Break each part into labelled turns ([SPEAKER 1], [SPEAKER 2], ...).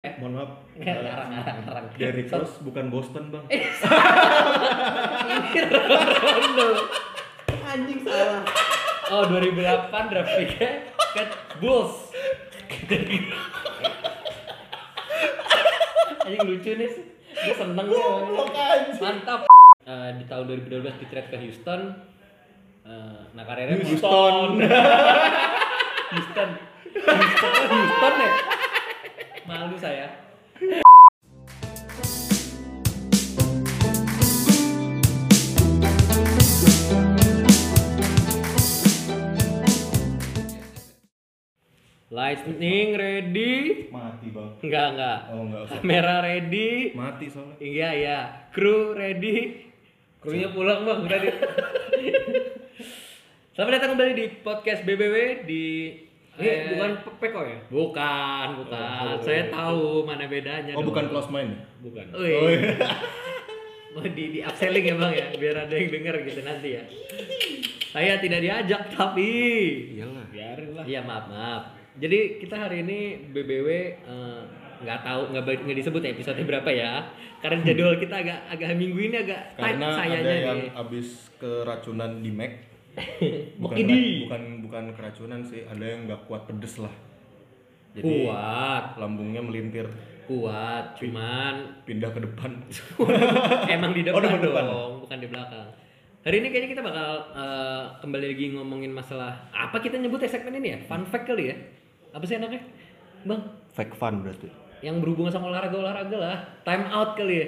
[SPEAKER 1] mohon maaf
[SPEAKER 2] Nggak,
[SPEAKER 1] eh,
[SPEAKER 2] ngarang, ngarang, ngarang.
[SPEAKER 1] Derrick
[SPEAKER 2] So-
[SPEAKER 1] Rose bukan Boston bang
[SPEAKER 2] Rondo.
[SPEAKER 3] Anjing salah.
[SPEAKER 2] Oh 2008 draft picknya ke Bulls. Anjing lucu nih. Gue seneng nih
[SPEAKER 3] Goblok
[SPEAKER 2] orangnya.
[SPEAKER 3] anjing.
[SPEAKER 2] Mantap. Eh, di tahun 2012 di trade ke Houston. Eh, nah karirnya
[SPEAKER 1] Houston.
[SPEAKER 2] Houston. Houston. Houston ya. Malu saya. Lightning ready.
[SPEAKER 3] Mati bang.
[SPEAKER 2] Enggak, enggak.
[SPEAKER 3] Oh enggak usah.
[SPEAKER 2] Kamera ready.
[SPEAKER 1] mati soalnya
[SPEAKER 2] Iya, iya. Kru ready. Krunya pulang, Bang, tadi. Selamat datang kembali di podcast BBW di
[SPEAKER 3] Ini
[SPEAKER 2] eh,
[SPEAKER 3] bukan pe- peko ya?
[SPEAKER 2] bukan, bukan.
[SPEAKER 3] Oh, oh.
[SPEAKER 2] Saya tahu mana bedanya.
[SPEAKER 1] oh
[SPEAKER 2] dong.
[SPEAKER 1] bukan close mind
[SPEAKER 3] Bukan.
[SPEAKER 2] Wih. Mau Oh, iya. di, di upselling ya bang ya, biar ada yang denger gitu nanti ya. Saya tidak diajak tapi.
[SPEAKER 1] iyalah
[SPEAKER 3] Biarin lah.
[SPEAKER 2] Iya maaf maaf. Jadi kita hari ini BBW eh, nggak tahu nggak ba- nggak disebut ya episode berapa ya. Karena jadwal kita agak agak minggu ini agak tight
[SPEAKER 1] karena ada
[SPEAKER 2] sayanya
[SPEAKER 1] yang
[SPEAKER 2] nih.
[SPEAKER 1] abis keracunan di Mac bukan
[SPEAKER 2] Mokidi.
[SPEAKER 1] ra- bukan bukan keracunan sih ada yang nggak kuat pedes lah jadi
[SPEAKER 2] Kuat
[SPEAKER 1] lambungnya melintir
[SPEAKER 2] kuat cuman
[SPEAKER 1] pindah ke depan
[SPEAKER 2] emang di depan,
[SPEAKER 1] Oh, depan, depan.
[SPEAKER 2] dong bukan di belakang. Hari ini kayaknya kita bakal eh, kembali lagi ngomongin masalah apa kita nyebut segmen ini ya? Fun fact kali ya? Apa sih enaknya? Bang,
[SPEAKER 1] fake fun berarti
[SPEAKER 2] yang berhubungan sama olahraga olahraga lah time out kali ya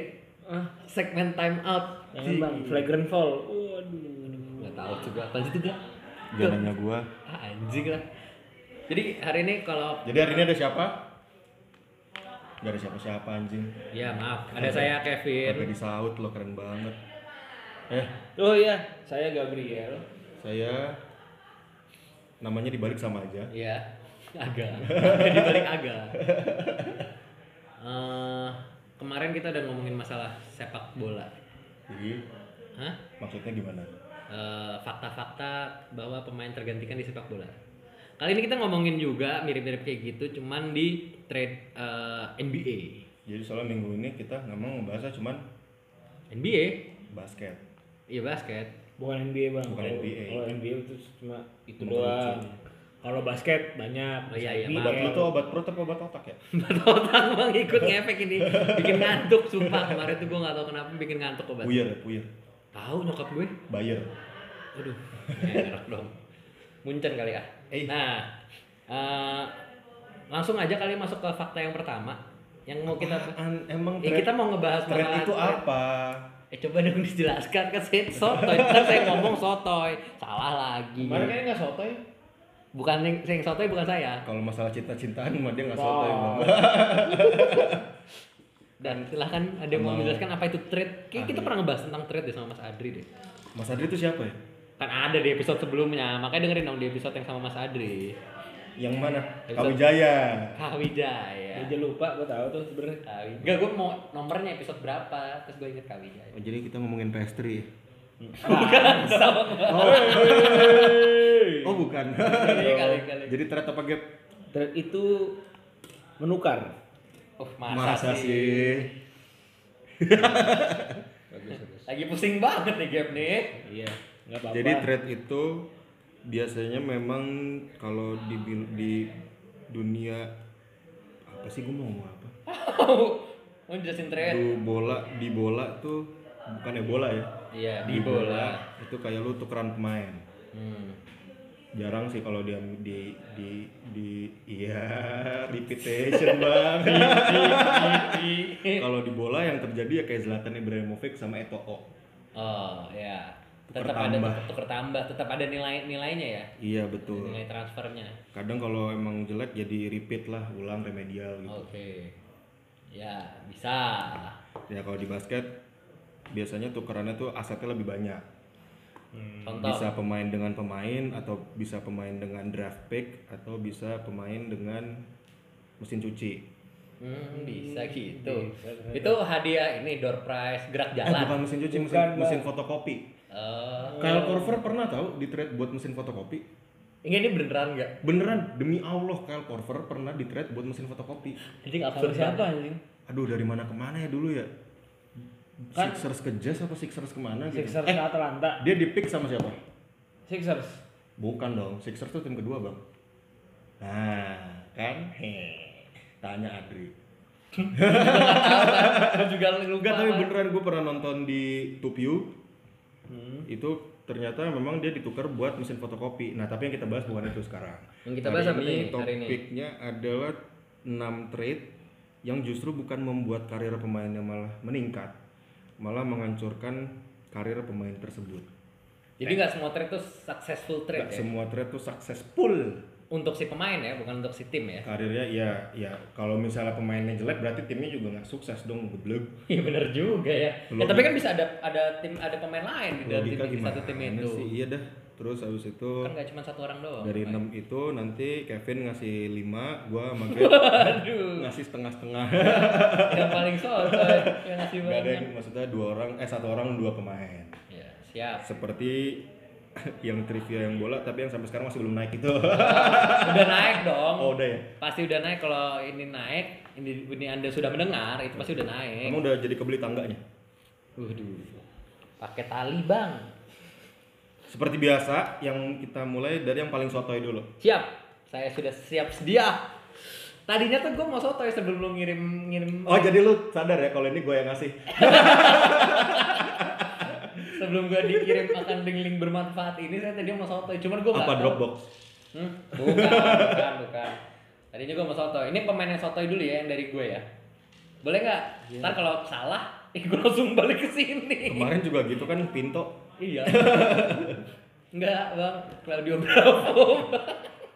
[SPEAKER 2] segmen time out
[SPEAKER 3] Ah. Jangan bang. Flagrant fall. Waduh.
[SPEAKER 2] nggak tahu juga apa itu gak
[SPEAKER 1] jalannya gua
[SPEAKER 2] ah, anjing lah jadi hari ini kalau
[SPEAKER 1] jadi hari ini ada siapa Gak ada siapa-siapa anjing
[SPEAKER 2] ya maaf ada saya Kevin
[SPEAKER 1] Kagak disaut lo keren banget Eh
[SPEAKER 3] Oh iya, saya Gabriel.
[SPEAKER 1] saya namanya dibalik sama aja
[SPEAKER 2] ya agak di balik agak Eh, kemarin kita udah ngomongin masalah sepak bola
[SPEAKER 1] jadi
[SPEAKER 2] Hah?
[SPEAKER 1] maksudnya gimana
[SPEAKER 2] Eh, fakta-fakta bahwa pemain tergantikan di sepak bola. Kali ini kita ngomongin juga mirip-mirip kayak gitu, cuman di trade eh, NBA.
[SPEAKER 1] jadi soalnya minggu ini kita nggak mau ngebahasnya cuman
[SPEAKER 2] NBA,
[SPEAKER 1] basket
[SPEAKER 2] iya basket.
[SPEAKER 3] Bukan NBA bang.
[SPEAKER 1] Bukan
[SPEAKER 3] Kalau-
[SPEAKER 1] NBA.
[SPEAKER 2] Oh,
[SPEAKER 3] Kalau NBA itu cuma itu
[SPEAKER 1] Cuma ya.
[SPEAKER 3] doang. Kalau basket banyak.
[SPEAKER 2] Oh, iya, iya,
[SPEAKER 3] NBA.
[SPEAKER 1] obat lu tuh obat perut apa obat otak ya
[SPEAKER 2] Total bang ikut ngefek ini, bikin ngantuk sumpah kemarin tuh gue nggak tahu kenapa bikin ngantuk obat.
[SPEAKER 1] puyer ya, puyer
[SPEAKER 2] Tahu nyokap gue?
[SPEAKER 1] bayer
[SPEAKER 2] Aduh, merek dong. Muncen kali ah.
[SPEAKER 1] Eh.
[SPEAKER 2] Nah, eh, langsung aja kali masuk ke fakta yang pertama yang mau kita
[SPEAKER 1] Apaan? emang
[SPEAKER 2] Ya, kita mau ngebahas
[SPEAKER 1] thread
[SPEAKER 2] masalah
[SPEAKER 1] itu
[SPEAKER 2] thread.
[SPEAKER 1] apa
[SPEAKER 2] Eh coba dong dijelaskan kan saya sotoy, kan saya ngomong sotoy, salah lagi.
[SPEAKER 3] Kemarin kayaknya nggak sotoy.
[SPEAKER 2] Bukan yang, yang sotoy bukan saya.
[SPEAKER 1] kalau masalah cinta-cintaan mah dia nggak
[SPEAKER 3] Wow.
[SPEAKER 1] sotoy bang
[SPEAKER 2] Dan silahkan ada yang mau
[SPEAKER 1] Emang-
[SPEAKER 2] menjelaskan apa itu trade. Kayak kita pernah ngebahas tentang trade deh sama Mas Adri deh.
[SPEAKER 1] Mas Adri itu siapa ya
[SPEAKER 2] Kan ada di episode sebelumnya, makanya dengerin dong di episode yang sama Mas Adri.
[SPEAKER 1] Iya. yang mana
[SPEAKER 2] Episode-
[SPEAKER 1] Kawijaya
[SPEAKER 2] Kawijaya.
[SPEAKER 3] Ya, Aja lupa, gua tahu tuh sebenarnya.
[SPEAKER 2] Kawijaya. Enggak, gue mau nomornya episode berapa, terus gue inget Kawijaya.
[SPEAKER 1] Oh, iya. jadi kita ngomongin PS3 ya?
[SPEAKER 2] Sama.
[SPEAKER 1] Oh bukan.
[SPEAKER 2] Kali, Iya. kali, kali.
[SPEAKER 1] jadi ternyata apa gap?
[SPEAKER 3] Trade itu menukar.
[SPEAKER 2] Oh,
[SPEAKER 1] Masa sih?
[SPEAKER 2] Lagi pusing banget nih game nih.
[SPEAKER 3] Iya. Nggak apa-apa.
[SPEAKER 1] Jadi trade itu biasanya memang kalau di bil- di dunia apa sih gue mau ngomong apa?
[SPEAKER 2] Mau jelasin trade?
[SPEAKER 1] Di bola di bola tuh bukan ya bola ya?
[SPEAKER 2] Iya, di bola.
[SPEAKER 1] itu kayak lu tukeran pemain.
[SPEAKER 2] Hmm.
[SPEAKER 1] Jarang sih kalau dia di di di iya repetition banget. kalau di bola yang terjadi ya kayak Zlatan Ibrahimovic sama Eto'o.
[SPEAKER 2] Oh ya,
[SPEAKER 1] Tuker
[SPEAKER 2] tetap ada
[SPEAKER 1] tambah.
[SPEAKER 2] tuker tambah, tetap ada nilai nilainya ya,
[SPEAKER 1] Iya betul.
[SPEAKER 2] nilai transfernya.
[SPEAKER 1] kadang kalau emang jelek jadi repeat lah ulang remedial gitu
[SPEAKER 2] Oke, ya bisa.
[SPEAKER 1] ya kalau di basket biasanya tukerannya tuh asetnya lebih banyak
[SPEAKER 2] Contoh,
[SPEAKER 1] bisa pemain dengan pemain atau bisa pemain dengan draft pick atau bisa pemain dengan mesin cuci
[SPEAKER 2] Hmm, bisa gitu. Itu hadiah ini door prize gerak
[SPEAKER 1] eh
[SPEAKER 2] jalan.
[SPEAKER 1] bukan mesin cuci mesin,
[SPEAKER 3] Bukan, Bang.
[SPEAKER 1] mesin fotokopi
[SPEAKER 3] Oh.
[SPEAKER 2] Eh,
[SPEAKER 1] Kyle Korver pernah tahu di trade buat mesin fotokopi
[SPEAKER 2] Enggak ini beneran nggak?
[SPEAKER 1] Beneran demi Allah Kyle Korver pernah di trade buat mesin fotokopi.
[SPEAKER 2] Anjing
[SPEAKER 3] Sama
[SPEAKER 2] absurd
[SPEAKER 3] siapa
[SPEAKER 2] siapa?
[SPEAKER 3] anjing?
[SPEAKER 1] Aduh dari mana ke mana ya dulu ya?
[SPEAKER 3] Kan-
[SPEAKER 1] Sixers ke Jazz apa Sixers kemana gitu?
[SPEAKER 3] Sixers ke Atlanta.
[SPEAKER 1] Dia di pick sama siapa?
[SPEAKER 3] Sixers.
[SPEAKER 1] Bukan dong, Sixers tuh tim kedua bang. Nah kan, he, tanya Adri.
[SPEAKER 2] Gue juga lupa.
[SPEAKER 1] Enggak tapi beneran gue pernah nonton di Tupiu
[SPEAKER 2] Hmm.
[SPEAKER 1] itu ternyata memang dia ditukar buat mesin fotokopi. Nah tapi yang kita bahas bukan itu sekarang.
[SPEAKER 2] Yang kita bahas apa
[SPEAKER 1] ini
[SPEAKER 2] nih hari Nah, ini?
[SPEAKER 1] topiknya adalah 6 trade yang justru bukan membuat karir pemainnya malah meningkat, malah menghancurkan karir pemain tersebut.
[SPEAKER 2] Jadi nggak semua trade tuh successful trade
[SPEAKER 1] Gak
[SPEAKER 2] ya.
[SPEAKER 1] semua trade tuh successful.
[SPEAKER 2] Untuk si pemain ya, bukan untuk si tim ya.
[SPEAKER 1] Karirnya ya ya kalau misalnya pemainnya jelek berarti timnya juga nggak sukses dong geblek.
[SPEAKER 2] Iya bener juga ya. ya.
[SPEAKER 1] Logika-
[SPEAKER 2] Tapi kan bisa ada ada tim ada pemain lain di dalam Eh, tim
[SPEAKER 1] Logika
[SPEAKER 2] di
[SPEAKER 1] gimana
[SPEAKER 2] satu tim itu.
[SPEAKER 1] sih? Iya dah. Terus habis itu
[SPEAKER 2] Kan nggak cuma satu orang doang.
[SPEAKER 1] dari
[SPEAKER 2] pemain.
[SPEAKER 1] 6 itu nanti Kevin ngasih 5, gua sama Greg
[SPEAKER 2] Aduh,
[SPEAKER 1] ngasih setengah-setengah.
[SPEAKER 2] yang paling sotoy yang ngasih
[SPEAKER 1] Gak ada
[SPEAKER 2] banyak.
[SPEAKER 1] yang maksudnya dua orang eh satu orang dua pemain.
[SPEAKER 2] Ya, siap.
[SPEAKER 1] Seperti yang trivia yang bola tapi yang sampai sekarang masih belum naik itu.
[SPEAKER 2] Udah naik dong.
[SPEAKER 1] oh udah ya.
[SPEAKER 2] Pasti udah naik kalau ini naik, ini, ini Anda sudah mendengar, itu pasti udah naik.
[SPEAKER 1] Emang udah jadi kebeli tangganya.
[SPEAKER 2] Waduh. Pakai tali, Bang.
[SPEAKER 1] Seperti biasa yang kita mulai dari yang paling sotoy dulu.
[SPEAKER 2] Siap. Saya sudah siap sedia. Tadinya tuh gue mau sotoy sebelum lu ngirim ngirim
[SPEAKER 1] Oh jadi lu sadar ya kalau ini gue yang ngasih.
[SPEAKER 2] Eh, sebelum gue dikirim akan link-link bermanfaat ini saya tadi mau sotoy. Cuman gue
[SPEAKER 1] Apa Dropbox?
[SPEAKER 2] Hmm, bukan, bukan, bukan. Tadi juga mau soto. Ini pemain yang sotoy dulu ya yang dari gue ya. Boleh nggak? Ntar kalau salah, eh, gue langsung balik ke sini.
[SPEAKER 1] Kemarin juga gitu kan Pinto
[SPEAKER 2] iya. Enggak, Bang. Claudio Bravo.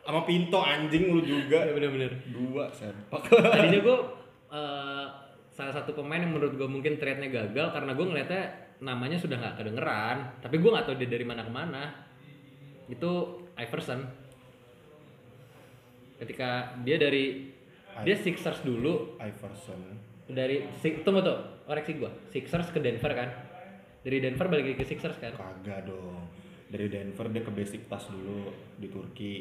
[SPEAKER 1] sama Pinto anjing lu juga.
[SPEAKER 2] Bener-bener.
[SPEAKER 1] Dua sempak.
[SPEAKER 2] Tadinya gue eh, salah satu pemain yang menurut gue mungkin trade-nya gagal karena gue ngeliatnya namanya sudah nggak kedengeran. Tapi gue nggak tahu dia dari mana ke mana. Itu Iverson. Ketika dia dari dia Sixers dulu,
[SPEAKER 1] Iverson.
[SPEAKER 2] dari Si- tunggu tuh koreksi gua Sixers ke Denver kan dari Denver balik lagi ke Sixers kan
[SPEAKER 1] Kagak dong. Dari Denver dia ke Besiktas dulu di Turki.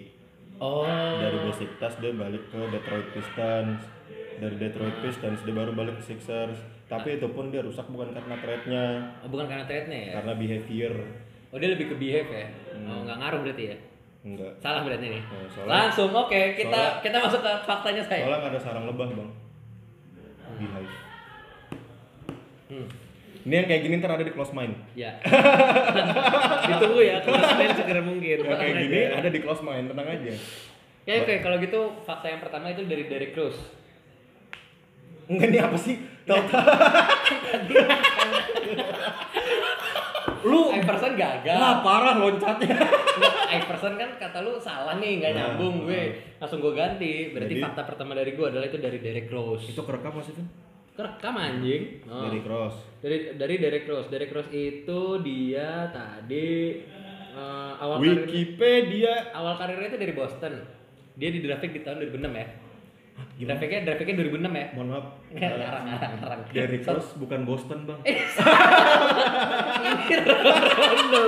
[SPEAKER 2] oh
[SPEAKER 1] Dari Besiktas dia balik ke Detroit Pistons. Dari Detroit Pistons dia baru balik ke Sixers. Tapi itu pun dia rusak bukan karena trade-nya,
[SPEAKER 2] bukan karena trade nya ya
[SPEAKER 1] karena behavior.
[SPEAKER 2] oh dia lebih ke behave ya oh nggak ngaruh berarti ya
[SPEAKER 1] Enggak.
[SPEAKER 2] salah berarti nih
[SPEAKER 1] Eh, Hmm. soalnya-
[SPEAKER 2] langsung oke kita
[SPEAKER 1] soalnya-
[SPEAKER 2] kita masuk ke faktanya saya
[SPEAKER 1] Soalnya nggak ada sarang lebah, Bang. Beehive.
[SPEAKER 2] hmm.
[SPEAKER 1] Ini yang kayak gini ntar ada di close mind.
[SPEAKER 2] ya ditunggu ya kemarin segera mungkin
[SPEAKER 1] Yang kayak gini ada di close mind, tenang aja.
[SPEAKER 2] ya oke kalau gitu fakta yang pertama itu dari dari Cruz
[SPEAKER 1] Enggak ini apa sih? Tahu-tahu
[SPEAKER 2] lu Iverson gagal
[SPEAKER 1] lah parah loncatnya.
[SPEAKER 2] Nggak, Iverson kan kata lu salah nih nggak
[SPEAKER 1] Nah,
[SPEAKER 2] nyambung gue langsung gue ganti berarti
[SPEAKER 1] Jadi-
[SPEAKER 2] fakta pertama dari gue adalah itu dari Derek Rose
[SPEAKER 1] itu kerekam maksudnya?
[SPEAKER 2] kerekam anjing Oh.
[SPEAKER 1] Dari cross.
[SPEAKER 2] dari dari Derek Rose Derek Rose itu dia tadi eh, awal karir,
[SPEAKER 1] Wikipedia
[SPEAKER 2] awal karirnya itu dari Boston dia di draft di tahun 2006 ya Draftnya draftnya 2006 ya
[SPEAKER 1] mohon maaf
[SPEAKER 2] ngarang ngarang ngarang
[SPEAKER 1] dari Cross bukan Boston bang
[SPEAKER 2] Rondo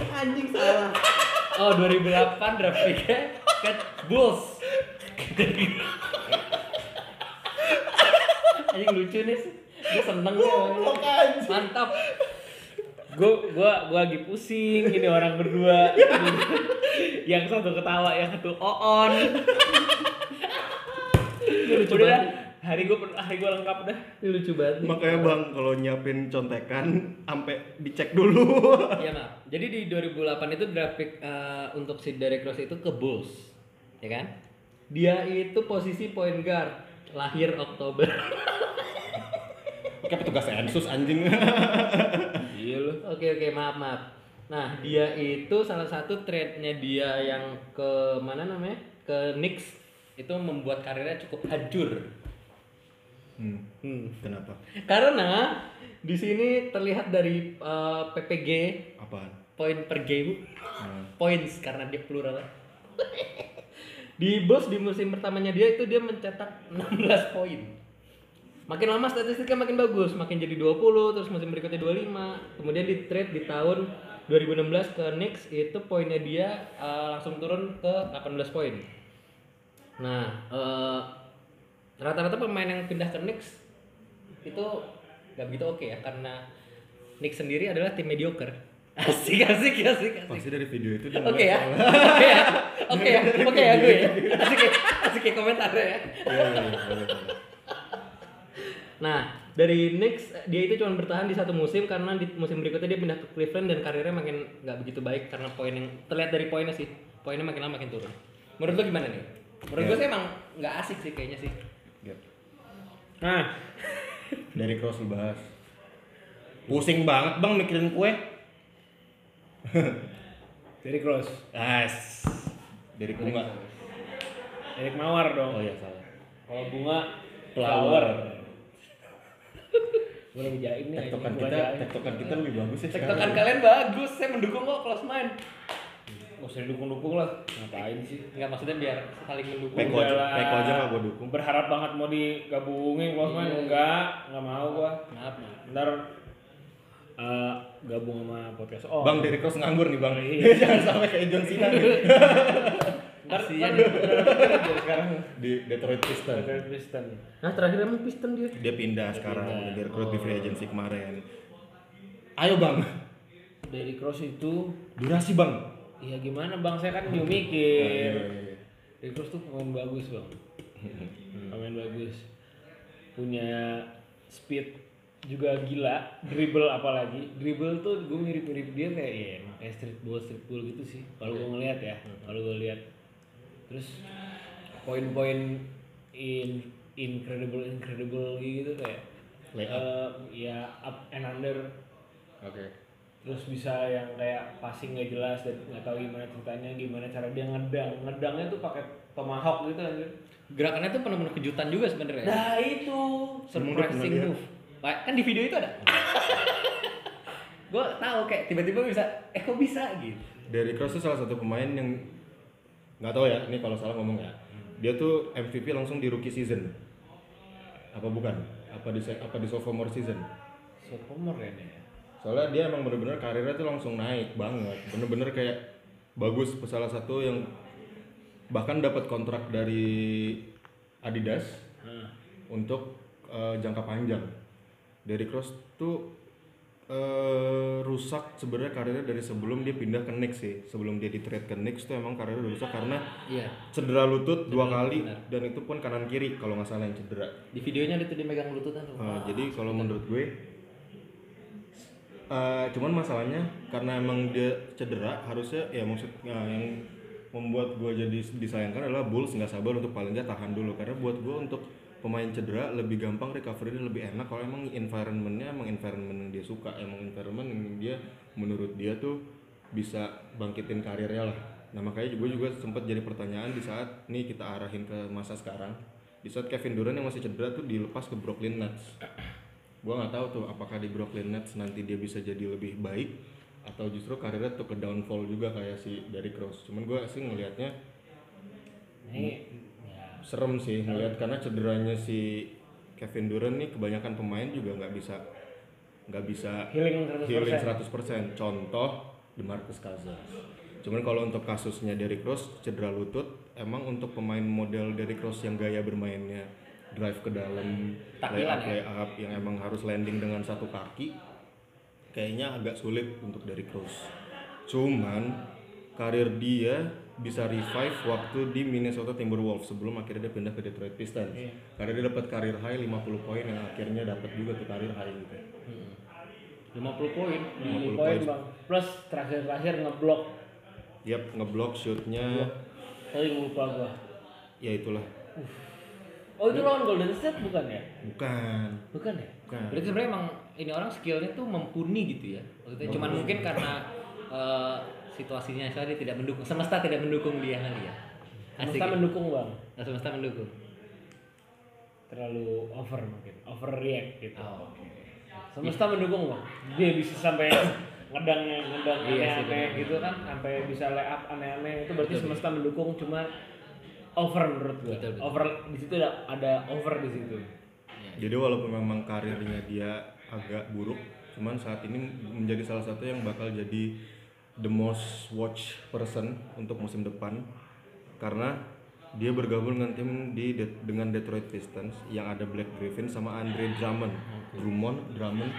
[SPEAKER 1] Eh,
[SPEAKER 2] anjing salah oh 2008 draft picknya ke Bulls anjing lucu nih gue seneng nih
[SPEAKER 1] Goblok, anjing.
[SPEAKER 2] mantap gue gua gua lagi pusing ini orang berdua yang satu ketawa yang satu oon ini lucu
[SPEAKER 3] Udah dah.
[SPEAKER 2] banget
[SPEAKER 3] Hari gue hari gue lengkap dah.
[SPEAKER 2] ini lucu banget nih.
[SPEAKER 1] makanya bang kalau nyiapin contekan ampe dicek dulu
[SPEAKER 2] Iya maaf. Jadi di 2008 itu grafik untuk si Derrick Rose itu ke Bulls, ya kan? Dia itu posisi point guard, lahir Oktober.
[SPEAKER 1] kayak petugas sensus anjing
[SPEAKER 3] Iya lu.
[SPEAKER 2] oke oke maaf maaf. Nah dia itu salah satu trade-nya dia yang ke mana namanya? Ke Knicks itu membuat karirnya cukup hancur.
[SPEAKER 1] hmm.
[SPEAKER 2] Hmm.
[SPEAKER 1] kenapa
[SPEAKER 2] Karena di sini terlihat dari eh, PPG
[SPEAKER 1] apaan
[SPEAKER 2] point per game
[SPEAKER 1] Nah,
[SPEAKER 2] points karena dia plural. di Bulls di musim pertamanya dia itu dia mencetak 16 poin. Makin lama statistiknya makin bagus, makin jadi 20, terus musim berikutnya 25, kemudian di trade di tahun
[SPEAKER 3] 2016 ke Knicks itu poinnya dia eh, langsung turun ke 18 poin.
[SPEAKER 2] Nah, eh, rata-rata pemain yang pindah ke Knicks itu nggak begitu oke ya karena Knicks sendiri adalah tim mediocre. Asik, asik, asik, asik.
[SPEAKER 1] Pasti dari video itu dia
[SPEAKER 2] Oke
[SPEAKER 1] ngeliat
[SPEAKER 2] ya,
[SPEAKER 1] soalnya.
[SPEAKER 2] oke ya, oke ya, oke ya gue. ya. Asik, ya, asik ya komentarnya ya.
[SPEAKER 1] Iya, iya, iya, boleh, boleh.
[SPEAKER 2] Nah,
[SPEAKER 3] Dari Knicks eh, dia itu cuma bertahan di satu musim karena di musim berikutnya dia pindah ke Cleveland dan karirnya makin
[SPEAKER 2] nggak begitu baik karena poin yang terlihat dari poinnya sih, poinnya makin lama makin turun. Menurut lo gimana nih? Menurut gue sih emang nggak asik sih kayaknya sih.
[SPEAKER 1] Gap.
[SPEAKER 3] Nah,
[SPEAKER 1] Dari cross lu bahas. Pusing banget bang mikirin kue.
[SPEAKER 3] Derrick Rose,
[SPEAKER 1] As. Dari bunga.
[SPEAKER 3] Derrick Mawar
[SPEAKER 1] Oh
[SPEAKER 3] dong.
[SPEAKER 1] iya salah.
[SPEAKER 3] Kalau bunga Gue lagi jaim nih.
[SPEAKER 1] Tektokan
[SPEAKER 3] anjing, gua
[SPEAKER 1] kita,
[SPEAKER 3] jaim.
[SPEAKER 1] tektokan kita lebih bagus ya.
[SPEAKER 2] Tektokan
[SPEAKER 1] sekarang.
[SPEAKER 2] kalian bagus, saya mendukung kok close mind.
[SPEAKER 3] Gak usah dukung-dukung lah. Ngapain sih?
[SPEAKER 2] Nggak maksudnya biar saling mendukung.
[SPEAKER 1] Peko aja, peko aja mah gua dukung.
[SPEAKER 3] Berharap banget mau digabungin kalau main
[SPEAKER 2] Iya.
[SPEAKER 3] enggak, enggak mau gua.
[SPEAKER 2] Maaf, maaf.
[SPEAKER 3] Ntar eh, gabung sama podcast. Oh.
[SPEAKER 1] Bang dari cross nganggur nih bang.
[SPEAKER 3] Iya.
[SPEAKER 1] Jangan sampai kayak John Cena nih.
[SPEAKER 3] ntar
[SPEAKER 2] Kasian.
[SPEAKER 3] ntar dari sekarang
[SPEAKER 1] di Detroit Pistons.
[SPEAKER 3] dari Kristen.
[SPEAKER 2] Nah terakhir emang Piston dia.
[SPEAKER 1] Dia pindah sekarang,
[SPEAKER 3] pindah.
[SPEAKER 1] udah direkrut di free agency kemarin. Ayo bang,
[SPEAKER 3] Dari Cross itu
[SPEAKER 1] durasi bang.
[SPEAKER 3] ya gimana Bang saya kan
[SPEAKER 1] Iya,
[SPEAKER 3] juga mikir.
[SPEAKER 1] iya, iya.
[SPEAKER 3] Dari Cross tuh pemain bagus, Bang. Pemain bagus. Punya speed juga gila, dribble apalagi. Dribble tuh gue mirip-mirip dia kayak ya emang kayak streetball streetball gitu sih. Kalau gue ngeliat ya, kalau gue lihat. Terus poin-poin in incredible incredible gitu kayak
[SPEAKER 1] Layup.
[SPEAKER 3] eh, ya up and under
[SPEAKER 1] Oke.
[SPEAKER 3] terus bisa yang kayak passing nggak jelas dan nggak tahu gimana ceritanya gimana cara dia ngedang ngedangnya tuh pakai tomahawk gitu anjir
[SPEAKER 2] Gerakannya tuh penuh-penuh kejutan juga sebenarnya.
[SPEAKER 3] nah itu
[SPEAKER 2] Surprising
[SPEAKER 1] Emang dia pernah
[SPEAKER 2] move. Pak, kan di video itu ada. gue tahu kayak tiba-tiba bisa, eh kok bisa gitu.
[SPEAKER 1] Derrick Rose tuh salah satu pemain yang nggak tahu ya, ini kalau salah ngomong ya. Dia tuh MVP langsung di rookie season. Apa bukan? Apa di se- apa di sophomore season?
[SPEAKER 3] sophomore ya dia
[SPEAKER 1] Soalnya dia emang bener-bener karirnya tuh langsung naik banget. Bener-bener kayak bagus salah satu yang bahkan dapat kontrak dari Adidas untuk eh, jangka panjang. Derrick Rose tuh eh, rusak sebenarnya karirnya dari sebelum dia pindah ke Knicks sih. Sebelum dia di trade ke Knicks tuh emang karirnya udah rusak karena
[SPEAKER 2] Iya.
[SPEAKER 1] cedera lutut dua kali
[SPEAKER 2] benar.
[SPEAKER 1] dan itu pun kanan kiri kalau nggak salah yang cedera.
[SPEAKER 2] Di videonya ada tuh dia megang lututan tuh.
[SPEAKER 1] Nah, jadi kalau menurut gue eh, cuman masalahnya karena emang dia cedera harusnya ya maksud nah, yang membuat gue jadi disayangkan adalah Bulls nggak sabar untuk paling nggak tahan dulu karena buat gue untuk pemain cedera lebih gampang recovery-nya lebih enak kalau emang environmentnya emang environment yang dia suka emang environment yang dia menurut dia tuh bisa bangkitin karirnya lah nah makanya gue juga sempat jadi pertanyaan di saat nih kita arahin ke masa sekarang di saat Kevin Durant yang masih cedera tuh dilepas ke Brooklyn Nets gua nggak tahu tuh apakah di Brooklyn Nets nanti dia bisa jadi lebih baik atau justru karirnya tuh ke downfall juga kayak si dari Cross cuman gua sih ngelihatnya
[SPEAKER 3] ini ya
[SPEAKER 1] serem sih ngelihat karena cederanya si Kevin Durant nih kebanyakan pemain juga nggak bisa nggak bisa
[SPEAKER 3] healing 100%
[SPEAKER 1] healing 100% contoh DeMarcus Cousins cuman kalau untuk kasusnya Derrick Rose cedera lutut emang untuk pemain model Derrick Rose yang gaya bermainnya drive ke dalam lay
[SPEAKER 2] Taktilan
[SPEAKER 1] up
[SPEAKER 2] ya?
[SPEAKER 1] lay up yang emang harus landing dengan satu kaki kayaknya agak sulit untuk Derrick Rose cuman karir dia bisa revive waktu di Minnesota Timberwolves sebelum akhirnya dia pindah ke Detroit Pistons karena dia dapat karir high 50 poin yang akhirnya dapat juga tuh karir high gitu
[SPEAKER 2] 50 poin.
[SPEAKER 3] Di
[SPEAKER 1] 50
[SPEAKER 3] poin
[SPEAKER 1] poin.
[SPEAKER 3] bang plus terakhir terakhir ngeblok
[SPEAKER 1] Yap, ngeblok shootnya
[SPEAKER 3] tadi lupa gua
[SPEAKER 1] ya itulah.
[SPEAKER 3] oh itu lawan Golden State bukan ya
[SPEAKER 1] Bukan.
[SPEAKER 3] bukan ya
[SPEAKER 1] Bukan.
[SPEAKER 2] Berarti sebenarnya emang ini orang skillnya tuh mumpuni gitu ya. Maksudnya cuman mungkin karena eh, situasinya tadi tidak mendukung, semesta tidak mendukung dia kali ya. Asik.
[SPEAKER 3] Mesta
[SPEAKER 2] ya?
[SPEAKER 3] mendukung bang
[SPEAKER 2] Nah, semesta mendukung.
[SPEAKER 3] terlalu over mungkin overreact gitu
[SPEAKER 2] Oh, oke.
[SPEAKER 3] semesta mendukung bang dia bisa sampai ngedangnya ngedang
[SPEAKER 2] Iya sih,
[SPEAKER 3] aneh-aneh
[SPEAKER 2] benar.
[SPEAKER 3] gitu kan sampai bisa lay up aneh-aneh itu berarti semesta mendukung cuma over menurut gua
[SPEAKER 2] Betul, betul.
[SPEAKER 3] over di situ ada, ada over di situ
[SPEAKER 1] Jadi walaupun memang karirnya dia agak buruk, cuman saat ini menjadi salah satu yang bakal jadi the most watch person untuk musim depan karena dia bergabung dengan tim di Det- dengan Detroit Pistons yang ada Black Griffin sama Andre Drummond, Drummond, Drummond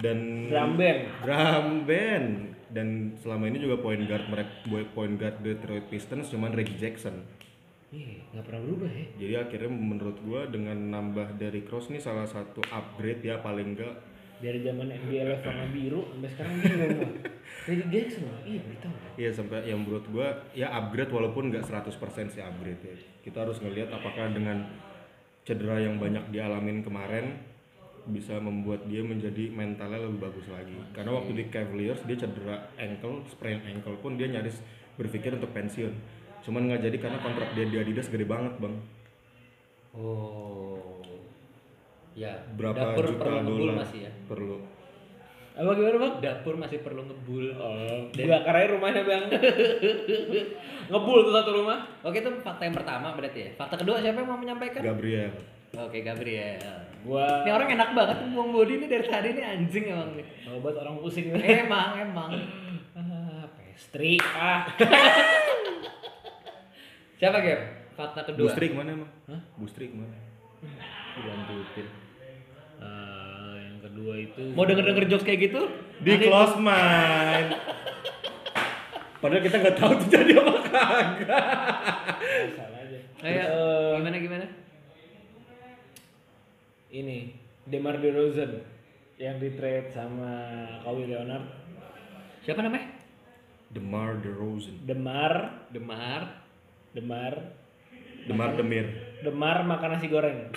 [SPEAKER 1] dan
[SPEAKER 2] Iya.
[SPEAKER 3] Drum band.
[SPEAKER 1] drum band dan selama ini juga point guard mereka point guard Detroit Pistons cuman Reggie Jackson
[SPEAKER 2] Ih, Iya, nggak pernah berubah ya.
[SPEAKER 1] jadi akhirnya menurut gua dengan nambah dari Cross nih salah satu upgrade ya paling enggak
[SPEAKER 3] Dari zaman NBA Live warna biru sampai sekarang bingung gua. Reggie Jackson, iya beritahu.
[SPEAKER 1] Iya sampai yang menurut gua ya upgrade walaupun nggak 100% sih upgrade ya. Kita harus ngelihat apakah dengan cedera yang banyak dialamin kemarin bisa membuat dia menjadi mentalnya lebih bagus lagi. Karena waktu di Cavaliers dia cedera ankle, sprain ankle pun dia nyaris berpikir untuk pensiun. Cuman nggak jadi karena kontrak dia di Adidas gede banget bang.
[SPEAKER 2] Oh. Ya,
[SPEAKER 1] Berapa
[SPEAKER 2] dapur
[SPEAKER 1] juta
[SPEAKER 2] perlu ngebul
[SPEAKER 1] dolar
[SPEAKER 2] masih ya.
[SPEAKER 1] perlu?
[SPEAKER 3] Apa gimana bang?
[SPEAKER 2] Dapur masih perlu ngebul.
[SPEAKER 3] Oh, bakar aja rumahnya bang. Ngebul tuh satu rumah.
[SPEAKER 2] Oke, itu fakta yang pertama berarti ya. Fakta kedua siapa yang mau menyampaikan?
[SPEAKER 1] Gabriel.
[SPEAKER 2] Oke, Gabriel.
[SPEAKER 3] Gua
[SPEAKER 2] Ini orang enak banget buang body ini dari tadi ini anjing emang nih.
[SPEAKER 3] obat orang pusing.
[SPEAKER 2] Emang, emang.
[SPEAKER 3] ah, pastry. Ah,
[SPEAKER 2] Siapa Gap? Fakta kedua.
[SPEAKER 1] Bustri kemana emang? Bustri kemana?
[SPEAKER 2] Dilanjutin. Eh,
[SPEAKER 3] Ah, yang kedua itu.
[SPEAKER 2] Mau denger-denger jokes kayak gitu?
[SPEAKER 1] Di close mind. Padahal kita nggak tahu tuh jadi apa kagak.
[SPEAKER 3] Salah aja.
[SPEAKER 2] Kayak
[SPEAKER 3] Eh,
[SPEAKER 2] gimana gimana?
[SPEAKER 3] ini Demar Derozan yang di trade sama Kawhi Leonard.
[SPEAKER 2] Siapa namanya?
[SPEAKER 1] Demar DeRozan.
[SPEAKER 3] Demar,
[SPEAKER 2] Demar.
[SPEAKER 3] Demar,
[SPEAKER 1] Demar Demir.
[SPEAKER 3] Demar makan nasi goreng.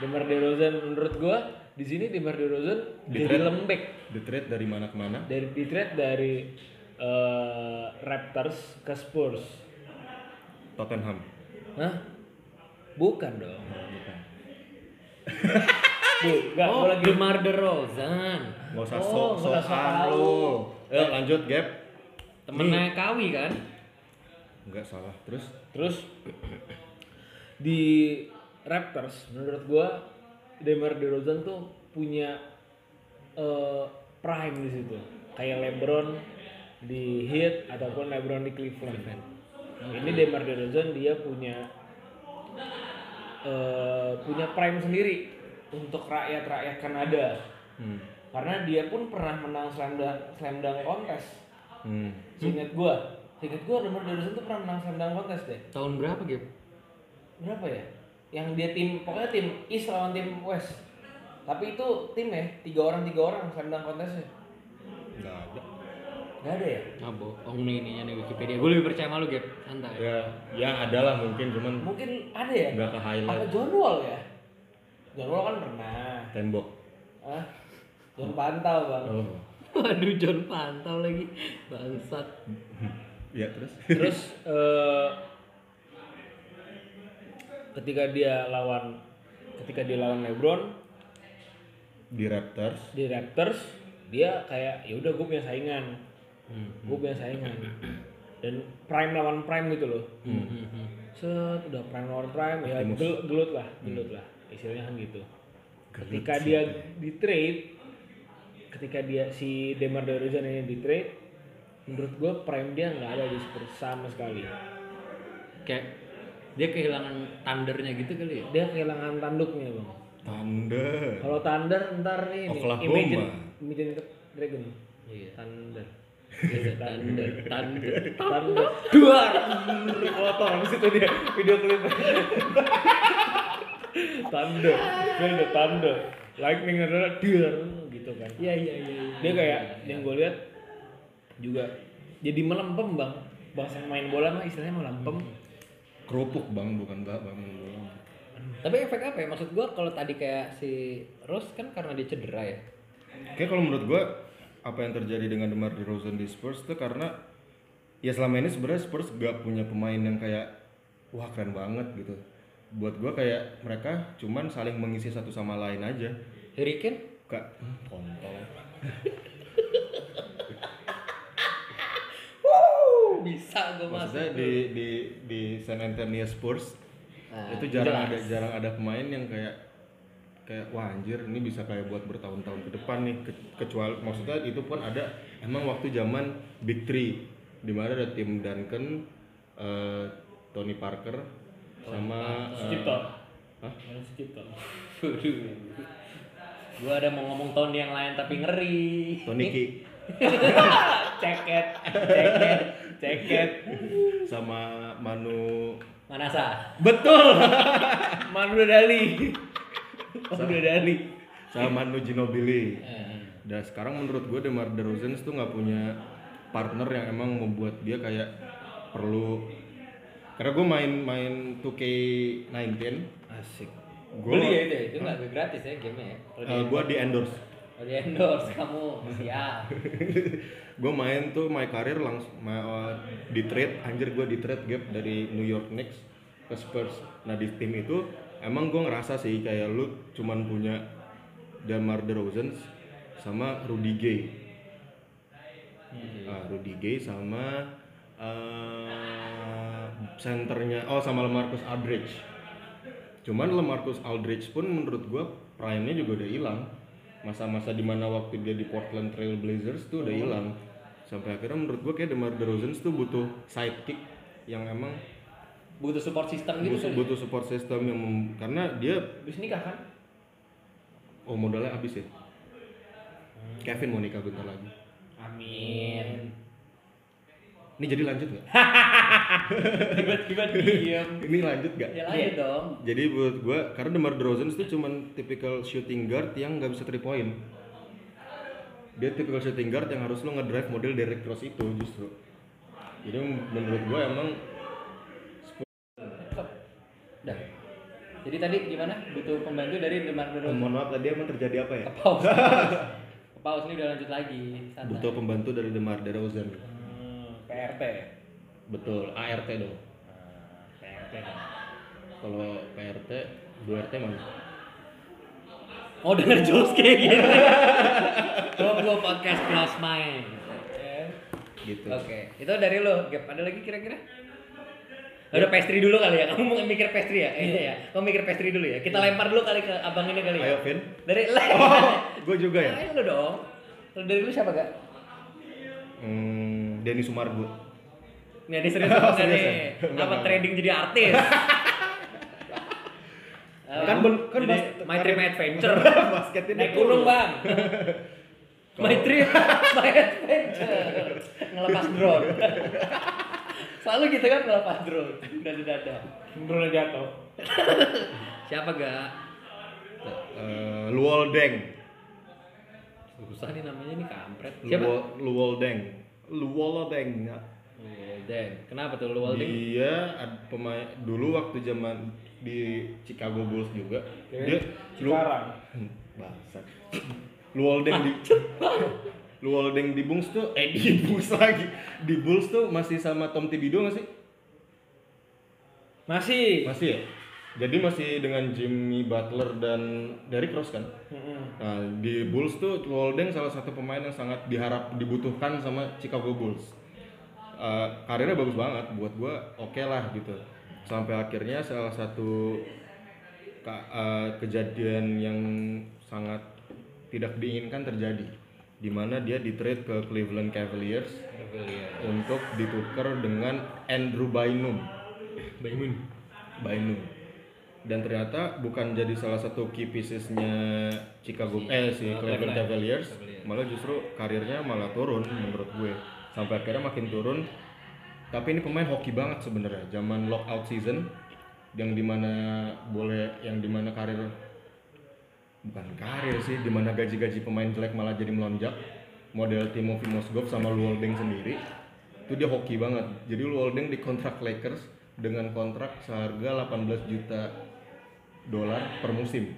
[SPEAKER 3] Demar Derozan menurut gua di sini Demar Derozan
[SPEAKER 1] Di
[SPEAKER 3] jadi
[SPEAKER 1] trade.
[SPEAKER 3] lembek
[SPEAKER 1] The trade dari mana ke mana?
[SPEAKER 3] dari di trade dari eh, Raptors ke Spurs.
[SPEAKER 1] Tottenham.
[SPEAKER 3] Hah? Bukan dong.
[SPEAKER 1] Bukan.
[SPEAKER 3] Bu, enggak,
[SPEAKER 2] Oh,
[SPEAKER 3] gua lagi
[SPEAKER 2] Demar DeRozan.
[SPEAKER 1] Gak usah
[SPEAKER 3] Oh,
[SPEAKER 1] sok
[SPEAKER 3] nggak usah
[SPEAKER 1] sokan
[SPEAKER 3] sok
[SPEAKER 1] lu. Eh lanjut Gap.
[SPEAKER 2] Temennya Kawi kan?
[SPEAKER 1] Enggak salah. Terus
[SPEAKER 3] Terus di Raptors menurut gua Demar Derozan tuh punya eh, prime di situ. Kayak LeBron di Heat ataupun LeBron di Cleveland. Ini Demar Derozan dia punya eh, punya prime sendiri untuk rakyat-rakyat Kanada.
[SPEAKER 1] hmm.
[SPEAKER 3] Karena dia pun pernah menang slam dunk, slam dunk kontes.
[SPEAKER 1] Hmm.
[SPEAKER 3] Seingat gua, seingat gua Demar Derozan tuh pernah menang slam dunk kontes deh
[SPEAKER 2] Tahun berapa Gap?
[SPEAKER 3] berapa ya yang dia tim pokoknya tim East lawan tim West tapi itu tim ya tiga orang tiga orang sandang kontesnya
[SPEAKER 1] Enggak ada.
[SPEAKER 3] nggak ada ya
[SPEAKER 2] Nah, bohong nih ininya nih Wikipedia. Gue lebih percaya sama lu, Gap. Santai.
[SPEAKER 1] Ya, ya ada lah mungkin cuman
[SPEAKER 3] mungkin ada ya
[SPEAKER 1] enggak ke
[SPEAKER 3] apa
[SPEAKER 1] highlight
[SPEAKER 3] John Wall ya John Wall kan pernah
[SPEAKER 1] tembok.
[SPEAKER 3] ah John Pantau bang
[SPEAKER 1] Oh.
[SPEAKER 2] Waduh, John pantau lagi. Bangsat.
[SPEAKER 1] Ya terus.
[SPEAKER 3] terus eh, ketika dia lawan ketika dia lawan LeBron
[SPEAKER 1] Di Raptors.
[SPEAKER 3] di Raptors dia kayak ya udah gue punya saingan gue punya saingan dan prime lawan prime gitu loh
[SPEAKER 1] Hmm.
[SPEAKER 3] set udah prime lawan prime ya
[SPEAKER 1] Optimus.
[SPEAKER 3] gel- gelut lah gelut lah istilahnya kan gitu ketika dia di trade ketika dia si Demar Derozan ini di trade menurut gue prime dia nggak ada di Spurs sama sekali
[SPEAKER 2] Kayak dia kehilangan tandernya gitu kali ya.
[SPEAKER 3] dia kehilangan tanduknya bang
[SPEAKER 1] Thunder.
[SPEAKER 3] kalau Thunder ntar ini
[SPEAKER 1] Oklahoma.
[SPEAKER 3] Imagine Imagine Dragon
[SPEAKER 2] Iya.
[SPEAKER 3] Thunder Iya,
[SPEAKER 2] Thunder, thunder.
[SPEAKER 3] Thunder dua potong di situ dia video klip Thunder Dia ada Thunder Lightning adalah deer gitu kan
[SPEAKER 2] Iya, iya, iya.
[SPEAKER 3] dia kayak yang gue lihat juga jadi melempem bang bahasa yang main bola mah istilahnya melempem
[SPEAKER 1] Kerupuk Bang bukan enggak Bang. Bola.
[SPEAKER 2] Tapi efek apa ya? Maksud gua kalau tadi kayak si Rose kan karena dia cedera ya.
[SPEAKER 1] Oke kalau menurut gua apa yang terjadi dengan Demar Derozan di Spurs itu karena ya selama ini sebenarnya Spurs gak punya pemain yang kayak wah keren banget gitu. Buat gua kayak mereka cuman saling mengisi satu sama lain aja.
[SPEAKER 2] Hurricane?
[SPEAKER 1] Kak, hmm, kontol.
[SPEAKER 2] Uh, bisa gua masuk.
[SPEAKER 1] Maksudnya di di di San Antonio Spurs
[SPEAKER 2] Nah,
[SPEAKER 1] itu jarang
[SPEAKER 2] jelas.
[SPEAKER 1] ada jarang ada pemain yang kayak kayak wah anjir ini bisa kayak buat bertahun-tahun ke depan nih Ke- kecuali maksudnya itu pun ada emang waktu zaman Big Three di mana ada tim Duncan, eh, Tony Parker sama eh,
[SPEAKER 3] Skip toh.
[SPEAKER 1] Hah?
[SPEAKER 3] Harus skip toh.
[SPEAKER 2] Waduh. Gua ada mau ngomong tahun yang lain tapi ngeri.
[SPEAKER 1] Tony Ki
[SPEAKER 2] ceket, ceket, ceket.
[SPEAKER 1] sama Manu
[SPEAKER 2] Manasa. Betul. Manu Dali. Manu Dali.
[SPEAKER 1] sama Manu Ginobili.
[SPEAKER 2] Eh,
[SPEAKER 1] Dan sekarang menurut gue Demar Derozan tuh nggak punya partner yang emang membuat dia kayak perlu karena gue main-main 2K19
[SPEAKER 3] Asik.
[SPEAKER 1] gue
[SPEAKER 2] Beli ya itu, ya? itu nggak gratis ya game ya. Kalau di-
[SPEAKER 1] gue Eh, di endorse
[SPEAKER 2] kalau di endorse kamu ya. siap.
[SPEAKER 1] gue main tuh my career langsung ma- uh, di trade anjir gue di trade gap dari New York Knicks ke Spurs nah di tim itu emang gue ngerasa sih kayak lu cuman punya Damar DeRozan sama Rudy Gay Ah, Rudy Gay sama eh centernya oh sama LaMarcus Aldridge cuman LaMarcus Aldridge pun menurut gue prime-nya juga udah hilang masa-masa dimana waktu dia di Portland Trail Blazers tuh udah hilang sampai akhirnya menurut gue kayak Demar Derozan tuh butuh sidekick yang emang
[SPEAKER 2] Butuh support system gitu
[SPEAKER 1] butuh
[SPEAKER 2] kan.
[SPEAKER 1] butuh support system yang mem- karena dia
[SPEAKER 2] Habis nikah kan?
[SPEAKER 1] oh modalnya habis ya
[SPEAKER 2] Hmm.
[SPEAKER 1] Kevin mau nikah bentar lagi
[SPEAKER 2] Amin.
[SPEAKER 1] ini jadi lanjut nggak
[SPEAKER 2] Tiba-tiba diem.
[SPEAKER 1] ini lanjut nggak
[SPEAKER 2] Ya lanjut dong.
[SPEAKER 1] Jadi buat gue, karena Demar Derozan itu cuman typical shooting guard yang nggak bisa 3 point. Dia typical shooting guard yang harus lo ngedrive model Derrick Rose itu justru. Jadi menurut gue emang
[SPEAKER 2] Udah. Jadi tadi gimana? Butuh pembantu dari Demar Derozan.
[SPEAKER 1] mohon maaf tadi emang terjadi apa ya?
[SPEAKER 2] Ke pause. Ke pause ini udah lanjut lagi. Santai.
[SPEAKER 1] Butuh pembantu dari Demar Derozan.
[SPEAKER 3] Hmm, PRT.
[SPEAKER 1] Betul, ART dong.
[SPEAKER 3] Ah, PRT.
[SPEAKER 1] Kalau PRT, 2 RT mana?
[SPEAKER 2] Oh denger jokes kayak gitu. Coba gua podcast plus main.
[SPEAKER 1] Gitu.
[SPEAKER 2] Oke, itu dari lo. Gap, ada lagi kira-kira? Udah pastry dulu kali ya. Kamu mau mikir pastry ya? Iya ya. Kamu mikir pastry dulu ya. Kita lempar dulu kali ke abang ini kali ya.
[SPEAKER 1] Iya. Ayo Vin.
[SPEAKER 2] Dari le.
[SPEAKER 1] Gue juga ya.
[SPEAKER 2] Ayo lo dong. Lo dari lu siapa gak?
[SPEAKER 1] Hmm, Denny Sumargo.
[SPEAKER 2] Nih ini serius apa nggak
[SPEAKER 1] Serius
[SPEAKER 2] nih?
[SPEAKER 1] ya? Enggak,
[SPEAKER 2] Apa
[SPEAKER 1] enggak.
[SPEAKER 2] trading jadi artis? Eh,
[SPEAKER 1] Kan ben- kan
[SPEAKER 2] jadi
[SPEAKER 1] bas-
[SPEAKER 2] my trip my adventure.
[SPEAKER 1] Basketnya
[SPEAKER 2] Naik
[SPEAKER 1] dia
[SPEAKER 2] gunung
[SPEAKER 1] turun.
[SPEAKER 2] bang. my trip my adventure. Ngelepas drone. Selalu gitu kan ngelepas drone. Dada dada.
[SPEAKER 3] Drone jatuh.
[SPEAKER 2] Siapa gak?
[SPEAKER 1] Eh, Luol Deng.
[SPEAKER 2] Susah nih namanya nih kampret. Siapa?
[SPEAKER 1] Luol, Luol Deng. Luol Deng. ya.
[SPEAKER 2] Walden. Eh, Kenapa tuh lu Walden?
[SPEAKER 1] Dia Iya, ad- pemain dulu waktu zaman di Chicago Bulls juga. Dia
[SPEAKER 3] Iya,
[SPEAKER 1] lu
[SPEAKER 3] Sekarang.
[SPEAKER 1] bangsat. Luoldeng di Luoldeng di Bulls tuh eh di Bulls lagi. Di Bulls tuh masih sama Tom Thibodeau nggak sih?
[SPEAKER 3] Masih.
[SPEAKER 1] Masih ya? Jadi masih dengan Jimmy Butler dan Derrick Rose kan?
[SPEAKER 3] Mm-mm.
[SPEAKER 1] Nah, di Bulls tuh Walden salah satu pemain yang sangat diharap dibutuhkan sama Chicago Bulls. Eh, karirnya bagus banget buat gua oke lah gitu. Sampai akhirnya salah satu ka- eh, kejadian yang sangat tidak diinginkan terjadi di mana dia di trade ke Cleveland Cavaliers untuk ditukar dengan Andrew Bynum.
[SPEAKER 2] Baimun.
[SPEAKER 1] Bainu dan ternyata bukan jadi salah satu key piecesnya Chicago eh si Cleveland Cavaliers malah justru karirnya malah turun menurut gue sampai akhirnya makin turun tapi ini pemain hoki banget sebenarnya zaman lockout season yang dimana boleh yang dimana karir bukan karir sih dimana gaji-gaji pemain jelek malah jadi melonjak model Timofey Mozgov sama Luoldeng sendiri itu dia hoki banget jadi Luoldeng dikontrak Lakers dengan kontrak seharga 18 juta dolar per musim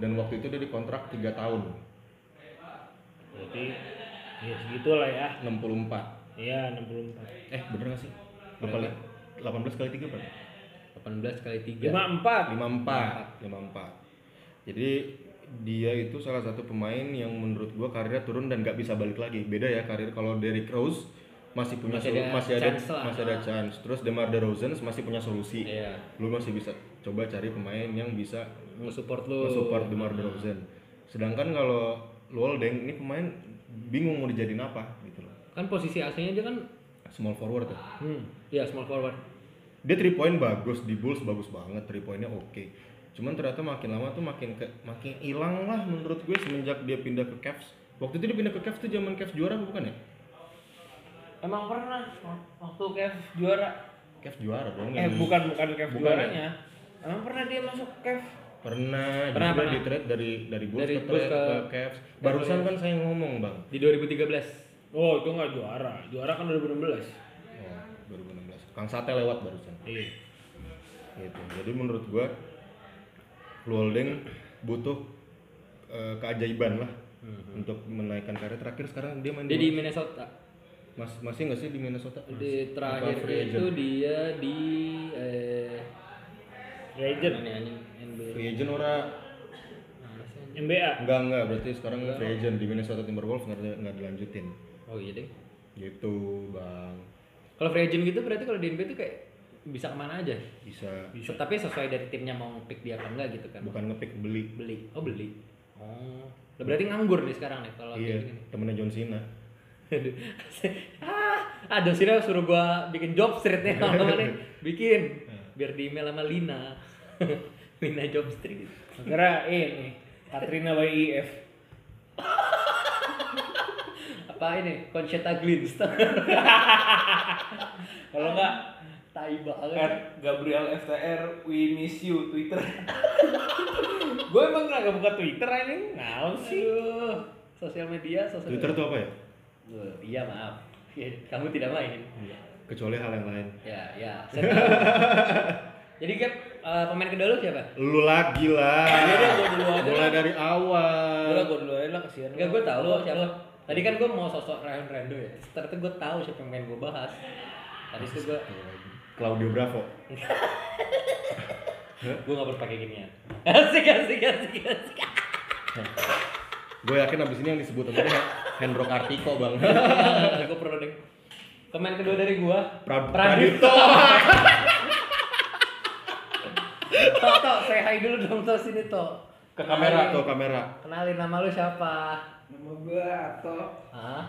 [SPEAKER 1] dan waktu itu dia dikontrak 3 tahun
[SPEAKER 3] Berarti ya segitulah ya.
[SPEAKER 1] 64
[SPEAKER 3] Iya, 64.
[SPEAKER 1] eh bener gak sih? Berapa li- 18 kali 3 berapa?
[SPEAKER 2] 18 kali 3.
[SPEAKER 3] 54.
[SPEAKER 1] 54 54 jadi dia itu salah satu pemain yang menurut gua karirnya turun dan gak bisa balik lagi beda ya karir kalau Derrick Rose masih punya
[SPEAKER 2] Masih
[SPEAKER 1] solu-
[SPEAKER 2] ada
[SPEAKER 1] masih ada
[SPEAKER 2] chance lah. Ah.
[SPEAKER 1] masih ada chance. Terus Demar Derozan masih punya solusi.
[SPEAKER 2] Iya.
[SPEAKER 1] Lu masih bisa coba cari pemain yang bisa
[SPEAKER 2] Nge-support lu.
[SPEAKER 1] support Demar Derozan. Sedangkan kalau Luoldeng ini pemain bingung mau dijadiin apa gitu loh.
[SPEAKER 2] Kan posisi aslinya dia kan
[SPEAKER 1] Small forward ya.
[SPEAKER 2] hmm, ya small forward.
[SPEAKER 1] Dia three point bagus di Bulls bagus banget, three pointnya oke. Cuman ternyata makin lama tuh makin ke, makin hilang lah menurut gue semenjak dia pindah ke Cavs. Waktu itu dia pindah ke Cavs tuh zaman Cavs juara apa bukan ya?
[SPEAKER 3] Emang pernah waktu Kev juara.
[SPEAKER 1] Cavs juara dong.
[SPEAKER 3] Eh
[SPEAKER 1] yang di-
[SPEAKER 3] bukan bukan Kev
[SPEAKER 2] ya?
[SPEAKER 1] Bukan
[SPEAKER 3] juaranya. Emang pernah dia masuk Kev?
[SPEAKER 1] Pernah,
[SPEAKER 2] Pernah,
[SPEAKER 1] justru
[SPEAKER 2] pernah.
[SPEAKER 1] di trade dari dari Bulls
[SPEAKER 2] Dari
[SPEAKER 1] ke,
[SPEAKER 2] Bulls
[SPEAKER 1] trade,
[SPEAKER 2] ke-
[SPEAKER 1] ke Cavs. Barusan kan saya ngomong, Bang.
[SPEAKER 2] Di 2013.
[SPEAKER 3] Oh itu nggak juara. Juara kan 2016.
[SPEAKER 1] Oh, 2016. Kang Sate lewat barusan.
[SPEAKER 3] Iya.
[SPEAKER 1] Gitu. Jadi menurut gua Luoldeng butuh eh, keajaiban lah
[SPEAKER 2] Hmm.
[SPEAKER 1] untuk menaikkan karir terakhir sekarang dia main
[SPEAKER 2] Dia
[SPEAKER 1] di
[SPEAKER 2] di Minnesota.
[SPEAKER 1] Mas, masih nggak sih di Minnesota?
[SPEAKER 2] Di
[SPEAKER 1] Apa
[SPEAKER 2] terakhir
[SPEAKER 1] free agent?
[SPEAKER 2] itu dia di eh
[SPEAKER 3] Legend.
[SPEAKER 2] ini anjing NBA.
[SPEAKER 1] Free agent ora
[SPEAKER 2] Mana sih anjing?
[SPEAKER 3] MBA.
[SPEAKER 1] enggak enggak berarti sekarang free agent di Minnesota Timberwolves nggak nggak dilanjutin.
[SPEAKER 2] Oh iya deh.
[SPEAKER 1] Gitu, Bang.
[SPEAKER 2] Kalau free agent gitu berarti kalau di NBA tuh kayak bisa kemana aja.
[SPEAKER 1] Bisa
[SPEAKER 2] Tapi sesuai dari timnya mau pick dia apa enggak gitu kan.
[SPEAKER 1] bukan ngepick beli.
[SPEAKER 2] Beli. Oh beli. Oh. Lah berarti nganggur nih sekarang nih kalau
[SPEAKER 1] Iya,
[SPEAKER 2] kayak gini.
[SPEAKER 1] temennya John Cena.
[SPEAKER 2] Aduh. ah, aduh sini suruh gua bikin job streetnya lama nih. Bikin biar di email sama Lina. Lina job street.
[SPEAKER 3] Kira ini Katrina by IF.
[SPEAKER 2] Apa ini? Conchetta Glins.
[SPEAKER 3] Kalau nggak
[SPEAKER 2] Tai banget.
[SPEAKER 3] R Gabriel FTR we miss you Twitter. gue emang nggak buka Twitter aja ngalam sih.
[SPEAKER 2] Aduh, sosial media, sosial
[SPEAKER 1] Twitter tuh apa ya?
[SPEAKER 2] Duh, iya maaf. Ya, Kamu tidak main.
[SPEAKER 1] Kecuali hal yang lain.
[SPEAKER 2] Ya, ya. saya tahu. Jadi Gap, eh, pemain kedua lu siapa?
[SPEAKER 1] Lu lagi lah.
[SPEAKER 3] Jadi gua dulu aja.
[SPEAKER 1] Mulai dari
[SPEAKER 3] Gue lah
[SPEAKER 1] awal.
[SPEAKER 3] gue dulu aja lah kesian.
[SPEAKER 2] Enggak, gue tahu lo siapa. Tadi kan gue mau sosok Ryan Rando ya. Terus Ternyata gue tahu siapa yang pengen gue bahas. Tadi itu gue
[SPEAKER 1] Claudio Bravo.
[SPEAKER 2] gue nggak berpakai ginian. Asik, asik, asik, asik.
[SPEAKER 1] Gue yakin abis ini yang disebut sama dia Hendro Kartiko bang.
[SPEAKER 2] gue Iya, perlu deh. Pemain kedua dari gue.
[SPEAKER 1] Pra-
[SPEAKER 2] Pradipto. Tok, Tok, saya hai dulu dong Tok sini Tok.
[SPEAKER 1] Ke kamera
[SPEAKER 2] Kenalin.
[SPEAKER 1] tuh kamera.
[SPEAKER 2] Kenalin nama lu siapa?
[SPEAKER 4] Nama gue Ato.
[SPEAKER 2] Hah?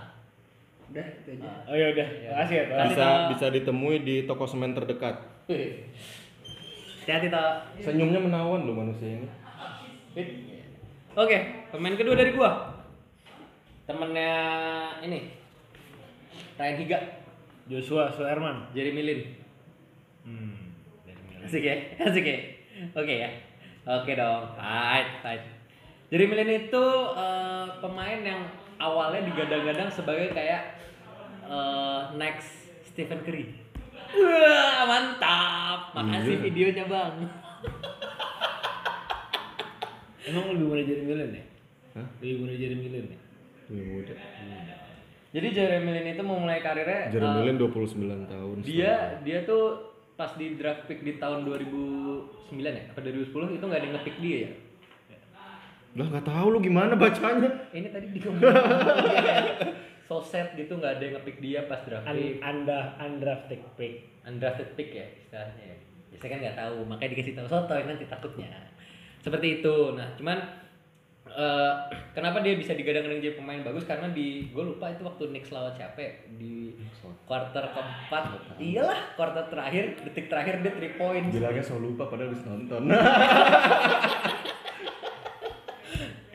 [SPEAKER 4] Udah itu aja.
[SPEAKER 3] Oh ya udah,
[SPEAKER 2] Iya.
[SPEAKER 3] makasih ya. Tuan.
[SPEAKER 1] Bisa bisa ditemui di toko semen terdekat.
[SPEAKER 2] Hati-hati Tok.
[SPEAKER 1] Senyumnya menawan loh manusia ini.
[SPEAKER 2] Oke, pemain kedua dari gua. Temennya ini. Ryan Higa,
[SPEAKER 3] Joshua Suherman.
[SPEAKER 2] Jeremy Lin.
[SPEAKER 3] Hmm. Dari Milan.
[SPEAKER 2] Asik ya, asik ya. Oke ya, oke dong. Fight, fight. Jadi Milan itu eh, pemain yang awalnya digadang-gadang sebagai kayak eh, next Stephen Curry. Wah, mantap. Makasih
[SPEAKER 1] Iya.
[SPEAKER 2] videonya bang.
[SPEAKER 3] Emang lebih muda jadi Milan ya?
[SPEAKER 1] Hah?
[SPEAKER 3] Lebih muda jadi Milan ya?
[SPEAKER 1] Lebih muda.
[SPEAKER 2] Jadi Jeremy Lin itu memulai karirnya eh,
[SPEAKER 1] Jeremy Lin 29 tahun.
[SPEAKER 2] dia dia tuh pas di draft pick di tahun 2009 ya apa 2010 itu nggak ada yang ngepick dia ya
[SPEAKER 1] Lah nggak tahu lu gimana bacanya.
[SPEAKER 2] ini tadi di ngomongin so sad gitu nggak ada yang ngepick dia pas draft
[SPEAKER 3] Un
[SPEAKER 2] pick
[SPEAKER 3] anda undrafted pick.
[SPEAKER 2] undrafted pick ya istilahnya ya. ya saya kan nggak tahu makanya dikasih tahu sotoy nanti takutnya seperti itu nah cuman eh, kenapa dia bisa digadang-gadang jadi pemain bagus karena di gue lupa itu waktu Knicks lawan siapa ya, di quarter keempat iyalah quarter terakhir detik terakhir dia 3 point
[SPEAKER 1] Bilangnya selalu lupa padahal habis nonton.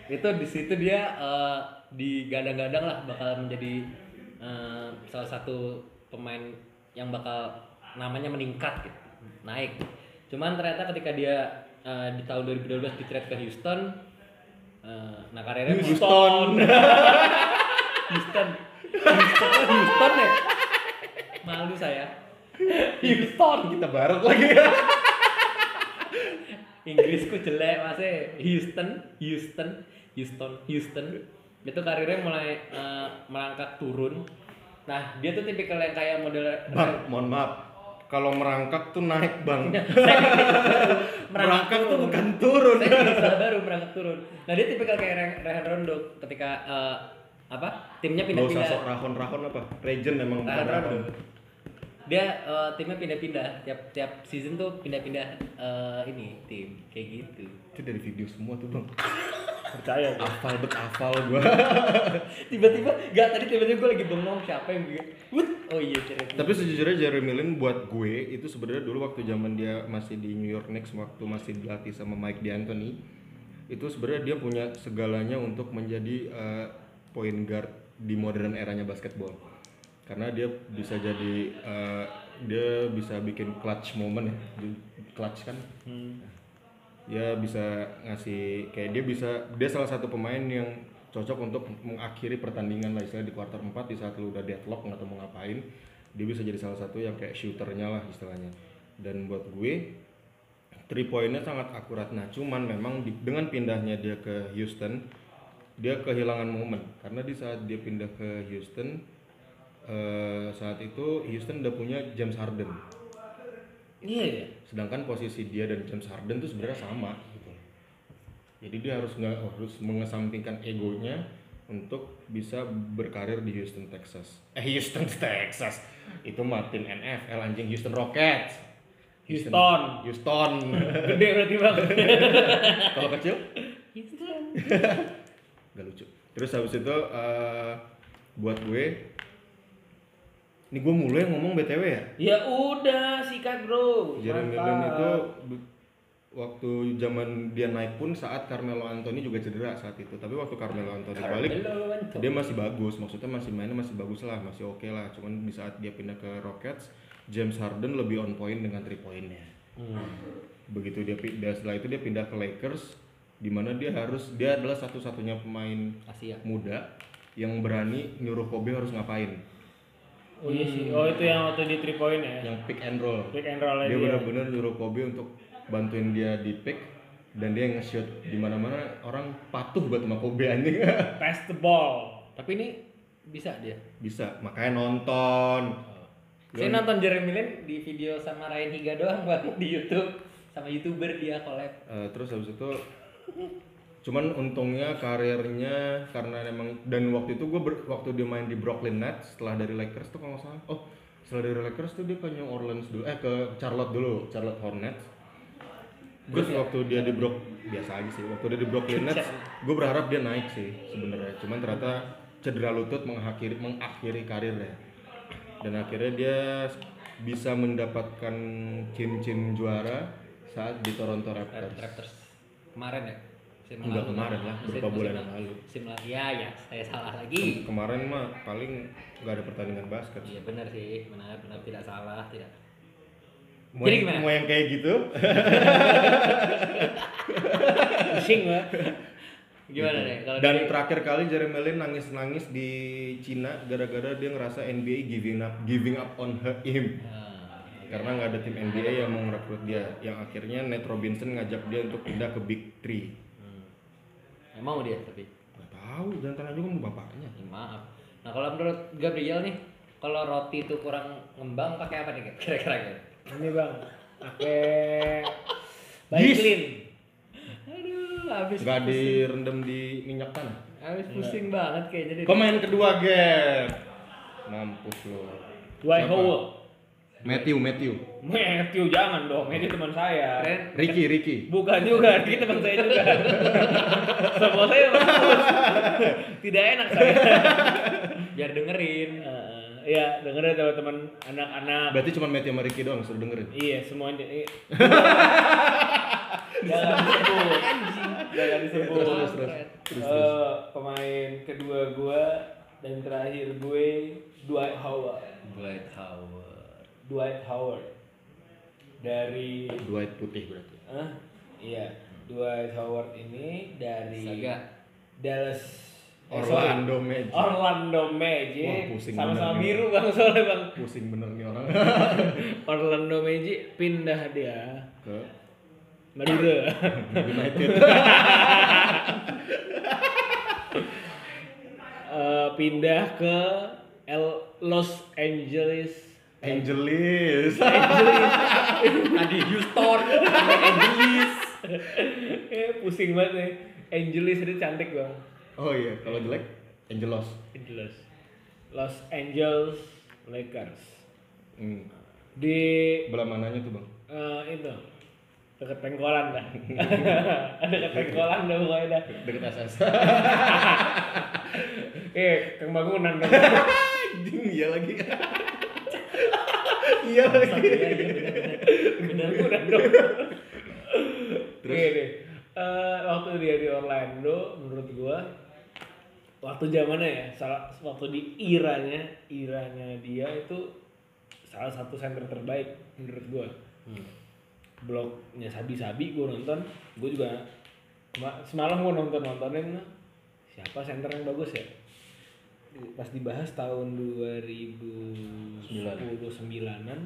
[SPEAKER 2] itu di situ dia eh, digadang-gadang lah bakal menjadi eh, salah satu pemain yang bakal namanya meningkat gitu naik cuman ternyata ketika dia eh, di tahun 2012 di trade ke Houston eh, nah karirnya
[SPEAKER 1] Houston.
[SPEAKER 2] Houston Houston, Houston ya malu saya
[SPEAKER 1] Houston kita bareng lagi.
[SPEAKER 2] Inggrisku jelek masih Houston, Houston, Houston, Houston. Itu karirnya mulai eh, merangkak turun. Nah, dia tuh tipikal yang kayak model
[SPEAKER 1] Bang, mohon maaf. Kalau merangkak tuh naik, Bang. merangkak tuh bukan turun.
[SPEAKER 2] Saya istilah baru merangkak turun. Nah, dia tipikal kayak Rehan Rondo ketika eh, apa timnya
[SPEAKER 1] Gak usah sok
[SPEAKER 2] pindah-pindah
[SPEAKER 1] rahon-rahon apa? Regen emang bukan
[SPEAKER 2] Rahon.
[SPEAKER 1] rahon.
[SPEAKER 2] dia eh, timnya pindah-pindah tiap tiap season tuh pindah-pindah eh, ini tim kayak gitu
[SPEAKER 1] Itu dari video semua tuh bang.
[SPEAKER 3] Percaya gua.
[SPEAKER 1] Afal bet afal gua.
[SPEAKER 2] tiba-tiba nggak tadi tiba-tiba gue lagi bengong siapa yang bikin Wut! oh iya cerita
[SPEAKER 1] Tapi sejujurnya Jeremy Lin buat gue itu sebenarnya dulu waktu zaman dia masih di New York Knicks waktu masih dilatih sama Mike D'Antoni itu sebenarnya dia punya segalanya untuk menjadi eh, point guard di modern eranya basketball karena dia bisa jadi eh, dia bisa bikin clutch moment ya Di- clutch kan dia ya bisa ngasih kayak dia bisa dia salah satu pemain yang cocok untuk mengakhiri pertandingan lah istilahnya di kuarter 4 di saat lu udah deadlock nggak tahu mau ngapain dia bisa jadi salah satu yang kayak shooternya lah istilahnya dan buat gue three pointnya sangat akurat nah cuman memang di- dengan pindahnya dia ke Houston dia kehilangan momen karena di saat dia pindah ke Houston eh, saat itu Houston udah punya James Harden
[SPEAKER 2] iya ya
[SPEAKER 1] sedangkan posisi dia dan James Harden tuh sebenarnya sama gitu jadi dia harus nggak harus mengesampingkan egonya untuk bisa berkarir di Houston Texas eh Houston Texas itu Martin NFL anjing Houston Rockets
[SPEAKER 3] Houston.
[SPEAKER 1] Houston
[SPEAKER 3] Gede berarti bang.
[SPEAKER 1] kalau kecil nggak lucu terus habis itu eh, buat gue ini gue mulai ngomong btw ya
[SPEAKER 3] ya udah sikat bro.
[SPEAKER 2] Ya.
[SPEAKER 1] Jeremy Lin
[SPEAKER 3] Mantap.
[SPEAKER 1] itu be- waktu zaman dia naik pun saat Carmelo Anthony juga cedera saat itu. Tapi waktu Carmelo Anthony balik
[SPEAKER 2] Hello, Anto.
[SPEAKER 1] dia masih bagus, maksudnya masih mainnya masih bagus lah, masih oke lah. Cuman di saat dia pindah ke Rockets, James Harden lebih on point dengan three pointnya. Hmm. Begitu dia pindah setelah itu dia pindah ke Lakers, di mana dia harus dia adalah satu-satunya pemain
[SPEAKER 2] Asia
[SPEAKER 1] muda yang berani nyuruh Kobe harus ngapain,
[SPEAKER 3] Oh iya sih. Oh itu yang waktu di three point ya.
[SPEAKER 1] yang pick and roll.
[SPEAKER 3] Pick and roll
[SPEAKER 1] dia
[SPEAKER 3] dia.
[SPEAKER 1] benar-benar nyuruh Kobe untuk bantuin dia di pick dan dia nge-shoot di mana-mana orang patuh buat sama Kobe anjing
[SPEAKER 3] Pass the ball.
[SPEAKER 2] tapi ini bisa
[SPEAKER 1] Ya.
[SPEAKER 2] dia
[SPEAKER 1] bisa makanya nonton
[SPEAKER 2] saya nonton Jeremy Lin di video sama Ryan Higa doang bang di YouTube sama youtuber dia collab
[SPEAKER 1] Eh, terus habis itu cuman untungnya karirnya karena emang dan waktu itu gue waktu dia main di Brooklyn Nets setelah dari Lakers tuh kalau nggak salah oh setelah dari Lakers tuh dia ke New Orleans dulu eh ke Charlotte dulu Charlotte Hornets terus waktu dia di Brook biasa aja sih waktu dia di Brooklyn Nets gue berharap dia naik sih sebenarnya cuman ternyata cedera lutut mengakhiri mengakhiri karirnya dan akhirnya dia bisa mendapatkan cincin juara saat di Toronto Raptors
[SPEAKER 2] Raptors kemarin ya musim
[SPEAKER 1] Enggak kemarin lah, beberapa bulan yang lalu.
[SPEAKER 2] musim lalu ya ya saya salah lagi
[SPEAKER 1] kemarin mah paling nggak ada pertandingan basket
[SPEAKER 2] iya benar sih benar benar tidak salah tidak
[SPEAKER 1] mau
[SPEAKER 2] Jadi
[SPEAKER 1] yang-
[SPEAKER 2] gimana?
[SPEAKER 1] mau yang kayak gitu
[SPEAKER 3] Pusing lah.
[SPEAKER 2] gimana deh kalau
[SPEAKER 1] dan
[SPEAKER 2] dari-
[SPEAKER 1] terakhir kali Jeremy Lin nangis-nangis di Cina gara-gara dia ngerasa NBA giving up giving up on her- him
[SPEAKER 2] Ah,
[SPEAKER 1] karena nggak ada tim NBA yang mau merekrut dia yang akhirnya Nate Robinson ngajak dia untuk pindah ke Big Three
[SPEAKER 2] hmm. Nggak mau dia tapi
[SPEAKER 1] nggak tahu dan tanya juga sama bapaknya
[SPEAKER 2] Ya, maaf. Nah kalau menurut Gabriel nih, kalau roti itu kurang ngembang pakai apa nih Gab? kira-kira? Gab?
[SPEAKER 3] Ini bang. Pakai. Baik clean.
[SPEAKER 2] Aduh, habis
[SPEAKER 1] nggak direndam di minyak tanah
[SPEAKER 2] habis pusing banget kayaknya deh.
[SPEAKER 1] pemain kedua Gap mampus lo
[SPEAKER 3] Dwight
[SPEAKER 1] Siapa?
[SPEAKER 3] Howard.
[SPEAKER 1] Matthew Matthew
[SPEAKER 3] Matthew jangan dong. Matthew teman saya.
[SPEAKER 2] Keren.
[SPEAKER 1] Ricky Ricky
[SPEAKER 3] Bukan juga, ini teman saya juga. Sama saya Mas. Tidak enak saya.
[SPEAKER 2] Biar dengerin.
[SPEAKER 3] Eh, ya, dengerin teman-teman anak-anak.
[SPEAKER 1] berarti cuma Matthew sama Ricky doang suruh dengerin
[SPEAKER 3] Iya, semuanya. iya. Jangan disebut. Jangan disebut.
[SPEAKER 1] Iya, Terus, terus, terus.
[SPEAKER 3] Eh, pemain kedua gua dan terakhir gue Dwight Howard.
[SPEAKER 2] Dwight Howard.
[SPEAKER 3] Dwight Howard. Dari
[SPEAKER 1] Dwight putih berarti
[SPEAKER 3] Hah? Iya, Dwight Howard ini dari
[SPEAKER 2] Saga.
[SPEAKER 3] Dallas eh, sorry.
[SPEAKER 1] Orlando Magic
[SPEAKER 3] Orlando
[SPEAKER 1] Wah,
[SPEAKER 3] Magic.
[SPEAKER 1] pusing bener nih.
[SPEAKER 3] Sama-sama biru Bang soalnya Bang.
[SPEAKER 1] pusing bener nih orang
[SPEAKER 3] Orlando Magic pindah dia
[SPEAKER 1] ke
[SPEAKER 3] Madura.
[SPEAKER 1] United
[SPEAKER 3] Eh, pindah ke El- Los Angeles
[SPEAKER 1] Angeles
[SPEAKER 2] Tadi Houston, Los Angeles.
[SPEAKER 3] eh pusing banget nih. Angeles itu cantik bang.
[SPEAKER 1] oh iya kalau jelek Angelos.
[SPEAKER 3] Angeles. Los Angeles Lakers.
[SPEAKER 1] Hmm.
[SPEAKER 3] Di
[SPEAKER 1] Belah mananya tuh bang?
[SPEAKER 3] eh, itu dekat pengkolan dah. dekat pengkolan dah pokoknya dah.
[SPEAKER 1] Deket SS.
[SPEAKER 3] Eh, kang bangunan kan.
[SPEAKER 1] Anjing iya lagi. iya lagi.
[SPEAKER 2] bener bener
[SPEAKER 3] Terus? Gini, Iya, eh, waktu dia di Orlando, menurut gua waktu zamannya ya, salah waktu di iranya, iranya dia itu salah satu center terbaik menurut gua.
[SPEAKER 2] Hmm,
[SPEAKER 3] Blognya sabi-sabi gua nonton, gua juga kema- semalam gua nonton nontonin siapa center yang bagus ya? Pas dibahas tahun 2010-an,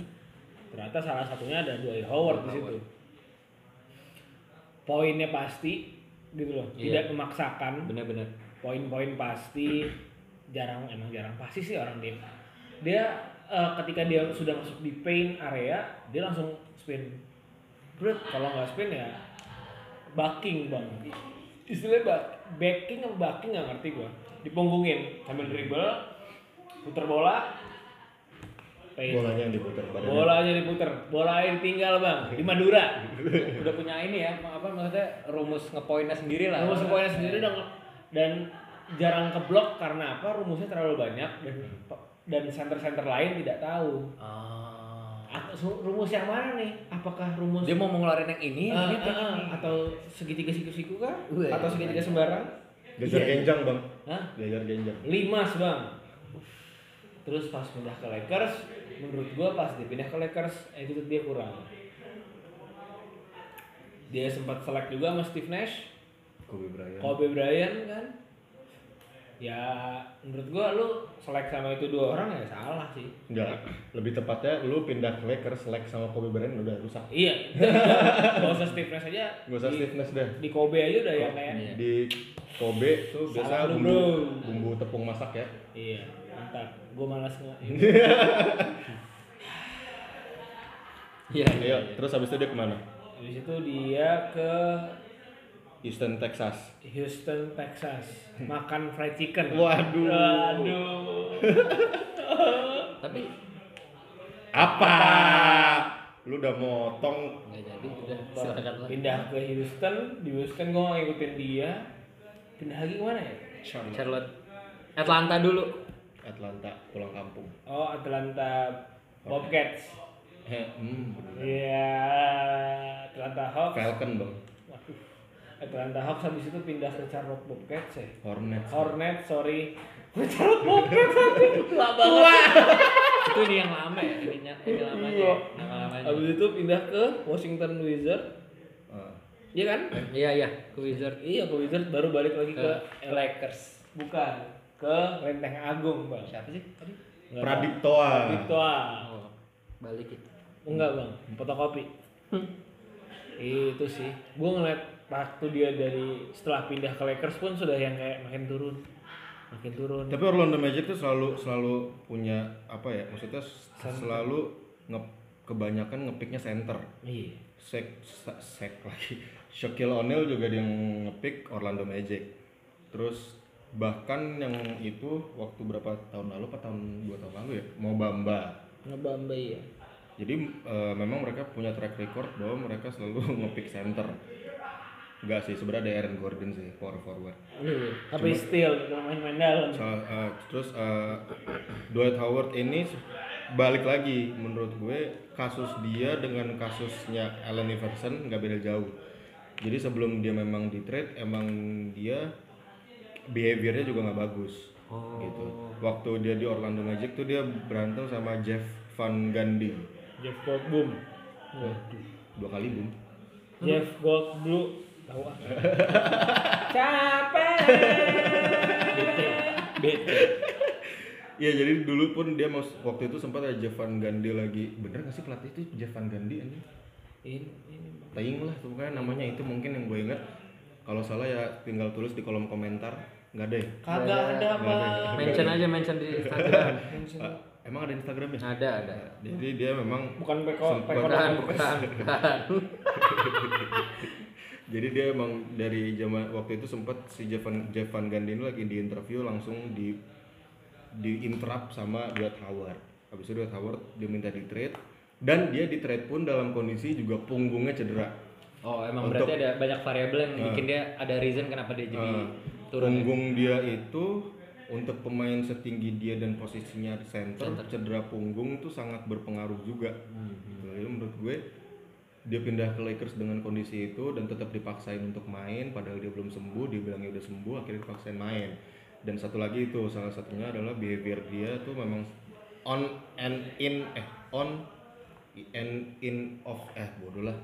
[SPEAKER 3] ternyata salah satunya ada Dwight Howard di situ poinnya pasti gitu loh
[SPEAKER 2] Iya.
[SPEAKER 3] tidak memaksakan
[SPEAKER 2] bener bener
[SPEAKER 3] poin-poin pasti jarang emang jarang pasti sih orang dia dia eh, ketika dia sudah masuk di paint area dia langsung spin Brut, kalau nggak spin ya backing bang istilahnya ba backing apa backing nggak ngerti gua dipunggungin sambil dribble puter bola paint
[SPEAKER 1] Bolanya yang diputar badannya.
[SPEAKER 3] bola aja diputer bola yang tinggal bang di Madura
[SPEAKER 2] udah punya ini ya apa maksudnya rumus ngepoinnya sendiri lah
[SPEAKER 3] Rumus poinnya
[SPEAKER 2] nah.
[SPEAKER 3] sendiri dong dan jarang keblok karena apa? Rumusnya terlalu banyak dan dan center-center lain tidak tahu.
[SPEAKER 2] Ah.
[SPEAKER 3] Atau su- rumus yang mana nih? Apakah rumus
[SPEAKER 2] dia mau ngeluarin yang ini gitu.
[SPEAKER 3] eh,
[SPEAKER 2] yang ini,
[SPEAKER 3] eh,
[SPEAKER 2] yang
[SPEAKER 3] eh,
[SPEAKER 2] ini.
[SPEAKER 3] atau segitiga siku-siku kah?
[SPEAKER 2] Weh.
[SPEAKER 3] Atau segitiga sembarang?
[SPEAKER 1] Gejar
[SPEAKER 3] iya.
[SPEAKER 1] genjang bang.
[SPEAKER 3] Hah?
[SPEAKER 1] Gejar genjang.
[SPEAKER 3] Limas bang. Terus pas pindah ke Lakers, menurut gua pas dia pindah ke Lakers, attitude dia kurang. Dia sempat selek juga sama Steve Nash.
[SPEAKER 1] Kobe Bryant.
[SPEAKER 3] Kobe Bryant kan ya menurut gua lu selek sama itu dua orang ya salah sih
[SPEAKER 1] Enggak. Lebih tepatnya lu pindah ke Lakers, select sama Kobe Bryant udah rusak.
[SPEAKER 3] iya gak usah Steve Nash aja
[SPEAKER 1] Gak usah Oh,
[SPEAKER 3] di,
[SPEAKER 1] stiffness dah.
[SPEAKER 3] di Kobe aja udah ya kayak
[SPEAKER 2] Iya.
[SPEAKER 1] Di Kobe tuh biasa
[SPEAKER 3] Salah lu,
[SPEAKER 1] bumbu,
[SPEAKER 3] bro.
[SPEAKER 1] bumbu tepung masak ya.
[SPEAKER 3] iya mantap gua malas nge
[SPEAKER 2] iya iya
[SPEAKER 1] Iya. Terus habis itu dia kemana?
[SPEAKER 3] habis itu dia ke
[SPEAKER 1] Houston, Texas.
[SPEAKER 3] Houston Texas makan fried chicken
[SPEAKER 1] Waduh.
[SPEAKER 3] Waduh.
[SPEAKER 2] tapi
[SPEAKER 1] Apa? Lu udah motong.
[SPEAKER 2] nggak jadi udah silakan lah
[SPEAKER 3] pindah ke Houston di Houston gua nggak ngikutin dia pindah lagi kemana ya
[SPEAKER 1] Charlotte.
[SPEAKER 2] Charlotte Atlanta dulu
[SPEAKER 1] Atlanta pulang kampung.
[SPEAKER 3] oh Atlanta Bobcats
[SPEAKER 1] Hmm.
[SPEAKER 3] Iya, Atlanta Hawks.
[SPEAKER 1] Falcon bang.
[SPEAKER 3] Waduh. Atlanta Hawks habis itu pindah ke Charlotte Bobcats ya.
[SPEAKER 1] Hornets.
[SPEAKER 3] Hornet, sorry. Ke Charlotte Bobcats anjing. Tua banget.
[SPEAKER 2] itu ini yang lama ya ininya ini lamanya
[SPEAKER 3] Iya.
[SPEAKER 2] ya. nama lamanya
[SPEAKER 3] Habis itu pindah ke Washington Wizards.
[SPEAKER 1] Ah.
[SPEAKER 3] Iya kan?
[SPEAKER 2] iya iya ke Wizard
[SPEAKER 3] Iya, ke Wizards baru balik lagi ke
[SPEAKER 2] Lakers
[SPEAKER 3] bukan ke Lenteng Agung, Bang.
[SPEAKER 2] siapa sih tadi
[SPEAKER 3] Nggak,
[SPEAKER 1] Pradiptoa.
[SPEAKER 3] Bang. Pradiptoa.
[SPEAKER 2] oh balik itu
[SPEAKER 3] Enggak, Bang. Fotokopi. Hmm. itu sih. Gue ngeliat waktu dia dari setelah pindah ke Lakers pun sudah yang kayak makin turun. Makin turun.
[SPEAKER 1] Tapi Orlando Magic tuh selalu selalu punya apa ya? Maksudnya s- selalu nge kebanyakan ngepicknya center.
[SPEAKER 3] Iya.
[SPEAKER 1] Sek, sa- sek lagi. Shaquille O'Neal juga dia yang ngepick Orlando Magic. Terus bahkan yang itu waktu berapa tahun lalu? Apa tahun dua tahun lalu ya? Mau Bamba.
[SPEAKER 3] Ngebamba ya.
[SPEAKER 1] Jadi eh, memang mereka punya track record bahwa mereka selalu ngepick center. Enggak sih, sebenarnya ada Aaron Gordon sih power forward.
[SPEAKER 3] Iya, Tapi still main-main dalam.
[SPEAKER 1] So, eh, terus eh, Dwight Howard ini se- balik lagi menurut gue kasus dia dengan kasusnya Allen Iverson nggak beda jauh. Jadi sebelum dia memang di trade emang dia behaviornya juga nggak bagus gitu. Waktu dia di Orlando Magic tuh dia berantem sama Jeff Van Gundy
[SPEAKER 3] Jeff Goldblum.
[SPEAKER 1] dua kali boom.
[SPEAKER 3] Jeff Goldblum. Tahu ah. Capek.
[SPEAKER 2] bete
[SPEAKER 1] Iya jadi dulu pun dia mau waktu itu sempat ada Jeff Van Gundy lagi bener nggak sih pelatih itu Jeff Van Gundy anjing?
[SPEAKER 3] Ini, ini.
[SPEAKER 1] Taing lah tuh pokoknya namanya itu mungkin yang gue inget kalau salah ya tinggal tulis di kolom komentar nggak ada ya?
[SPEAKER 3] Kagak ada, Bang.
[SPEAKER 2] mention aja mention di Instagram
[SPEAKER 1] Ah, emang ada Instagramnya?
[SPEAKER 2] ada ada
[SPEAKER 1] Jadi dia memang
[SPEAKER 3] Bukan peko,
[SPEAKER 1] Sempat.
[SPEAKER 3] peko
[SPEAKER 2] bukan bukan bukan
[SPEAKER 1] Jadi dia emang dari zaman waktu itu sempat si Jevan Jevan Gandini lagi di interview langsung di di interrupt sama Dwight Howard. Habis itu Dwight Howard diminta di trade dan dia di trade pun dalam kondisi juga punggungnya cedera.
[SPEAKER 2] Oh, emang
[SPEAKER 1] Untuk-
[SPEAKER 2] berarti ada banyak variabel yang bikin dia ada reason kenapa dia jadi
[SPEAKER 1] Eh,
[SPEAKER 2] turun. ya?
[SPEAKER 1] Punggung dia itu untuk pemain setinggi dia dan posisinya center,
[SPEAKER 2] Center. Mhm.
[SPEAKER 1] cedera punggung tuh sangat berpengaruh juga. Gitu. Jadi menurut gue dia pindah ke Lakers dengan kondisi itu dan tetap dipaksain untuk main padahal dia belum sembuh, dia bilangnya udah sembuh, akhirnya dipaksain main. Dan satu lagi itu salah satunya adalah behavior dia tuh memang on and in eh on and in off eh bodoh lah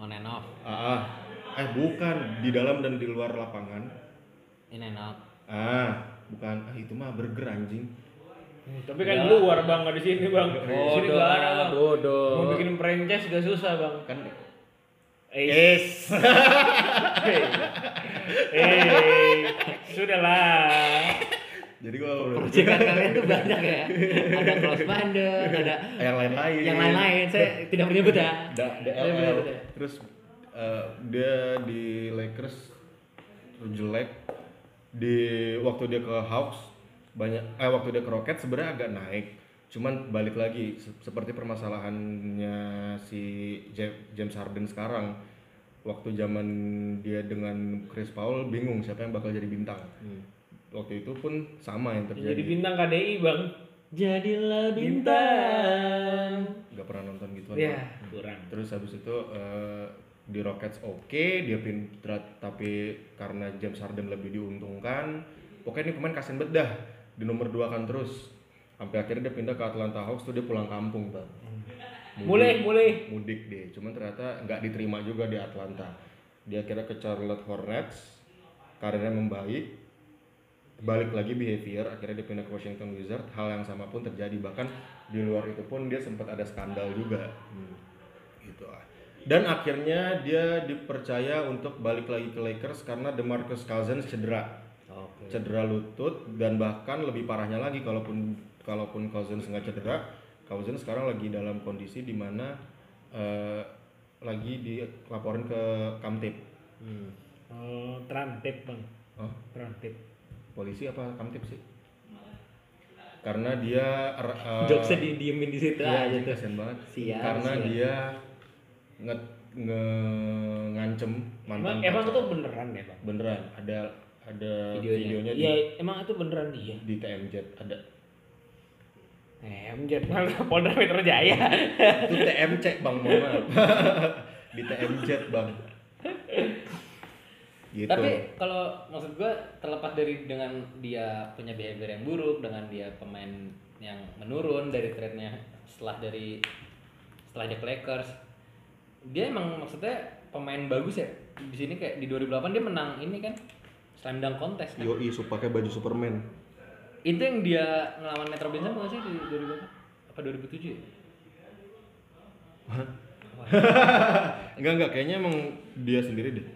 [SPEAKER 2] On and off,
[SPEAKER 1] Ah, ah. eh bukan di dalam dan di luar lapangan.
[SPEAKER 2] in and out.
[SPEAKER 1] Ah, bukan ah itu mah burger anjing.
[SPEAKER 3] Tapi kan di luar bang, nggak di sini bang. Di sini nggak ada bang.
[SPEAKER 2] bodoh.
[SPEAKER 3] Mau bikin franchise udah susah bang.
[SPEAKER 1] Kan
[SPEAKER 3] Eh, eh, sudahlah.
[SPEAKER 1] jadi kalau
[SPEAKER 2] Proyekan kalian tuh banyak ya. Ada close banded, ada
[SPEAKER 1] yang Iya, lain-lain.
[SPEAKER 2] yang lain-lain. Saya tidak menyebut ya.
[SPEAKER 1] Iya. Da-
[SPEAKER 2] Saya tidak
[SPEAKER 1] DLL.
[SPEAKER 2] menyebut ya.
[SPEAKER 1] Terus eh, dia di Lakers tuh jelek di waktu dia ke Hawks banyak eh waktu dia ke Rockets sebenarnya agak naik. Cuman balik lagi se- seperti permasalahannya si Ja- James Harden sekarang. Waktu zaman dia dengan Chris Paul bingung siapa yang bakal jadi bintang. Waktu itu pun sama yang
[SPEAKER 3] Jadi
[SPEAKER 1] terjadi.
[SPEAKER 3] bintang KDI bang.
[SPEAKER 2] Jadilah bintang.
[SPEAKER 1] Gak pernah nonton gitu
[SPEAKER 3] Ya, kurang.
[SPEAKER 1] Terus habis itu eh, di Rockets oke, dia pin tra- tapi karena James Harden lebih diuntungkan, pokoknya ini pemain kasihan bedah di nomor 2 kan terus. Sampai akhirnya dia pindah ke Atlanta Hawks tuh dia pulang kampung, Bang.
[SPEAKER 3] Mulai, mulai.
[SPEAKER 1] Mudik deh, cuman ternyata nggak diterima juga di Atlanta. Dia akhirnya ke Charlotte Hornets, karirnya membaik, balik lagi behavior, akhirnya dia pindah ke Washington Wizards. Hal yang sama pun terjadi, bahkan di luar itu pun dia sempat ada skandal juga gitu ah. Dan akhirnya dia dipercaya untuk balik lagi ke Lakers karena DeMarcus Cousins cedera. Cedera lutut dan bahkan lebih parahnya lagi kalaupun kalaupun Cousins nggak cedera, Cousins sekarang lagi dalam kondisi di mana eh, lagi dilaporin ke Kamtip.
[SPEAKER 3] Oh, trantip bang.
[SPEAKER 1] Oh,
[SPEAKER 3] Trantip.
[SPEAKER 1] polisi apa Kamtip sih? Karena dia er, eh,
[SPEAKER 2] Jokesnya didiemin di situ
[SPEAKER 1] Iya,
[SPEAKER 2] aja
[SPEAKER 1] anjing,
[SPEAKER 2] tuh.
[SPEAKER 1] kasihan banget.
[SPEAKER 2] Sial,
[SPEAKER 1] Karena
[SPEAKER 2] sial.
[SPEAKER 1] dia nge, nge- ngancem mantan.
[SPEAKER 3] Emang, emang
[SPEAKER 1] pacar.
[SPEAKER 3] itu beneran ya bang?
[SPEAKER 1] beneran ada ada
[SPEAKER 2] Videonya.
[SPEAKER 1] videonya,
[SPEAKER 3] Iya, emang itu beneran iya. dia.
[SPEAKER 1] di, di TMZ ada.
[SPEAKER 3] Eh, menjadi malah Polda Metro Jaya.
[SPEAKER 1] Itu TMC Bang, mohon maaf. di TMZ Bang. Gitu.
[SPEAKER 2] Tapi kalau maksud gua terlepas dari dengan dia punya behavior yang buruk, dengan dia pemain yang menurun dari trade-nya setelah dari setelah dia ke Lakers, dia emang maksudnya pemain bagus ya. Di sini kayak di 2008 dia menang ini kan slam dunk contest kan.
[SPEAKER 1] Yoi, su pakai baju Superman.
[SPEAKER 2] Itu yang dia ngelawan Metro Benson bukan sih di 2008? Apa 2007 ya?
[SPEAKER 1] enggak enggak, kayaknya emang dia sendiri deh.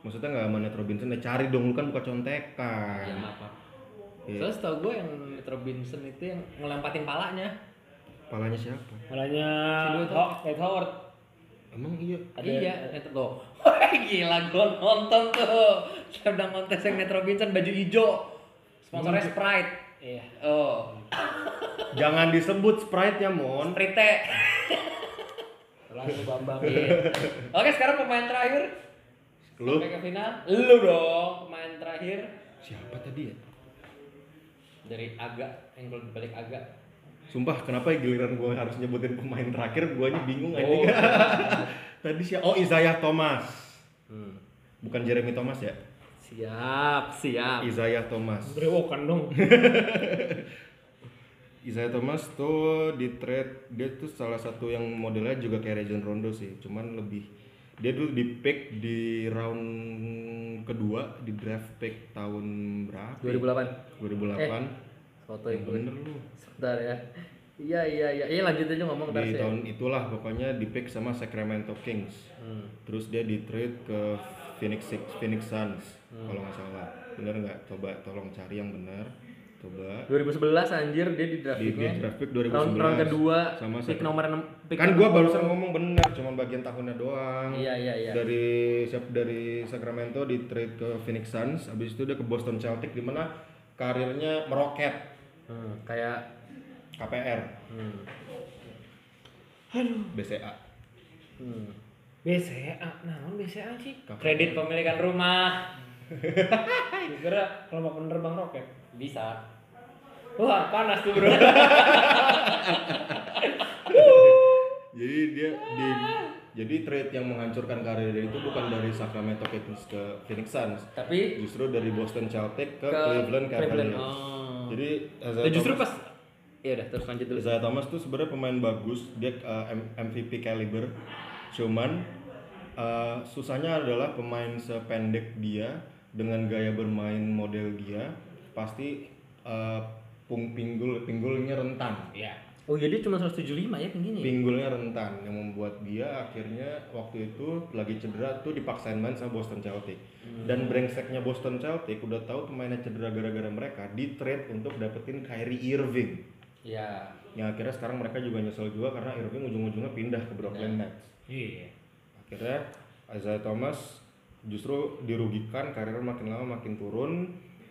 [SPEAKER 1] Maksudnya nggak sama Nate Robinson, ya cari dong lu kan buka
[SPEAKER 2] Ya
[SPEAKER 1] contekan.
[SPEAKER 2] maaf. maaf.
[SPEAKER 1] Iya.
[SPEAKER 2] Soalnya setahu gue yang Metro Benson itu yang ngelempatin palanya.
[SPEAKER 1] Palanya siapa?
[SPEAKER 3] Malahnya
[SPEAKER 2] dua tuh.
[SPEAKER 3] Ho- Ted Howard.
[SPEAKER 1] Emang iya.
[SPEAKER 2] iya, Metro tuh. Wah, gila gue nonton tuh. Sedang kontes yang Metro Vincent baju hijau. Sponsornya Sprite.
[SPEAKER 3] Iya.
[SPEAKER 2] Oh,
[SPEAKER 1] Jangan disebut Sprite-nya, Mon.
[SPEAKER 2] Sprite.
[SPEAKER 3] Lalu Bambang.
[SPEAKER 2] Iya. Oke, sekarang pemain terakhir
[SPEAKER 1] Lu
[SPEAKER 2] sampai ke final. Lu dong, pemain terakhir
[SPEAKER 1] siapa tadi ya?
[SPEAKER 2] dari agak angle balik agak.
[SPEAKER 1] Sumpah, kenapa ya giliran gue harus nyebutin pemain terakhir, gue aja bingung anjing. Tadi siapa? Oh, Isaiah Thomas. Hmm. Bukan Jeremy Thomas ya?
[SPEAKER 2] Siap, siap.
[SPEAKER 1] Isaiah Thomas.
[SPEAKER 3] Brewokan dong.
[SPEAKER 1] Isaiah Thomas tuh di trade dia tuh salah satu yang modelnya juga kayak Rajon Rondo sih, cuman lebih dia dulu di pick di round kedua di draft pick tahun berapa? 2008.
[SPEAKER 2] 2008. Foto
[SPEAKER 1] Yang bener lu.
[SPEAKER 2] Sebentar ya. Iya, iya, iya. Iya, lanjut aja ngomong ya.
[SPEAKER 1] Di tahun itulah pokoknya di pick sama Sacramento Kings.
[SPEAKER 2] Hmm.
[SPEAKER 1] Terus dia di trade ke
[SPEAKER 2] Hmm.
[SPEAKER 1] Phoenix Six, Phoenix Suns kalau nggak salah. Bener nggak? Coba tolong cari yang benar. Coba
[SPEAKER 2] 2011 anjir dia di
[SPEAKER 1] di, di
[SPEAKER 2] draftnya.
[SPEAKER 1] draft pick 2011.
[SPEAKER 2] Round, round kedua
[SPEAKER 1] sama
[SPEAKER 2] pick
[SPEAKER 1] second.
[SPEAKER 2] nomor 6 pick
[SPEAKER 1] kan gua barusan ngomong bener, cuman bagian tahunnya doang.
[SPEAKER 2] Iya iya iya.
[SPEAKER 1] Dari siap dari Sacramento di trade ke Phoenix Suns, habis itu dia ke Boston Celtics di mana karirnya meroket
[SPEAKER 2] Hmm, kayak
[SPEAKER 1] KPR,
[SPEAKER 2] hmm,
[SPEAKER 1] BCA.
[SPEAKER 2] hmm.
[SPEAKER 3] BCA, nah BCA sih.
[SPEAKER 2] Kredit pemilikan rumah
[SPEAKER 3] Kira kelompok penerbang roket.
[SPEAKER 2] bisa. Wah, panas tuh, Bro.
[SPEAKER 1] Jadi dia di jadi trade yang menghancurkan karir dia itu bukan dari Sacramento Kings ke Phoenix Suns,
[SPEAKER 2] Tapi
[SPEAKER 1] justru dari Boston Celtics ke,
[SPEAKER 2] ke
[SPEAKER 1] Cleveland Cavaliers.
[SPEAKER 2] Oh.
[SPEAKER 1] Jadi
[SPEAKER 2] Nah,
[SPEAKER 1] Isaiah
[SPEAKER 2] justru
[SPEAKER 1] Thomas,
[SPEAKER 2] pas Iya udah terus lanjut dulu.
[SPEAKER 1] Isaiah Thomas tuh sebenarnya pemain bagus, dia uh, M- MVP caliber. Cuman uh, susahnya adalah pemain sependek dia dengan gaya bermain model dia pasti uh, pung pinggul pinggulnya rentan.
[SPEAKER 3] Iya.
[SPEAKER 2] Oh, jadi cuma 175 ya tingginya. ya?
[SPEAKER 1] Pinggulnya rentan yang membuat dia akhirnya waktu itu lagi cedera tuh dipaksain main sama Boston Celtics. Dan brengseknya Boston Celtics udah tahu pemainnya cedera gara-gara mereka di trade untuk dapetin Kyrie Irving.
[SPEAKER 2] Iya.
[SPEAKER 1] yang akhirnya sekarang mereka juga nyesel juga karena Irving ujung-ujungnya pindah ke Brooklyn Nets
[SPEAKER 3] Iya.
[SPEAKER 1] akhirnya Isaiah Thomas justru dirugikan karirnya makin lama makin turun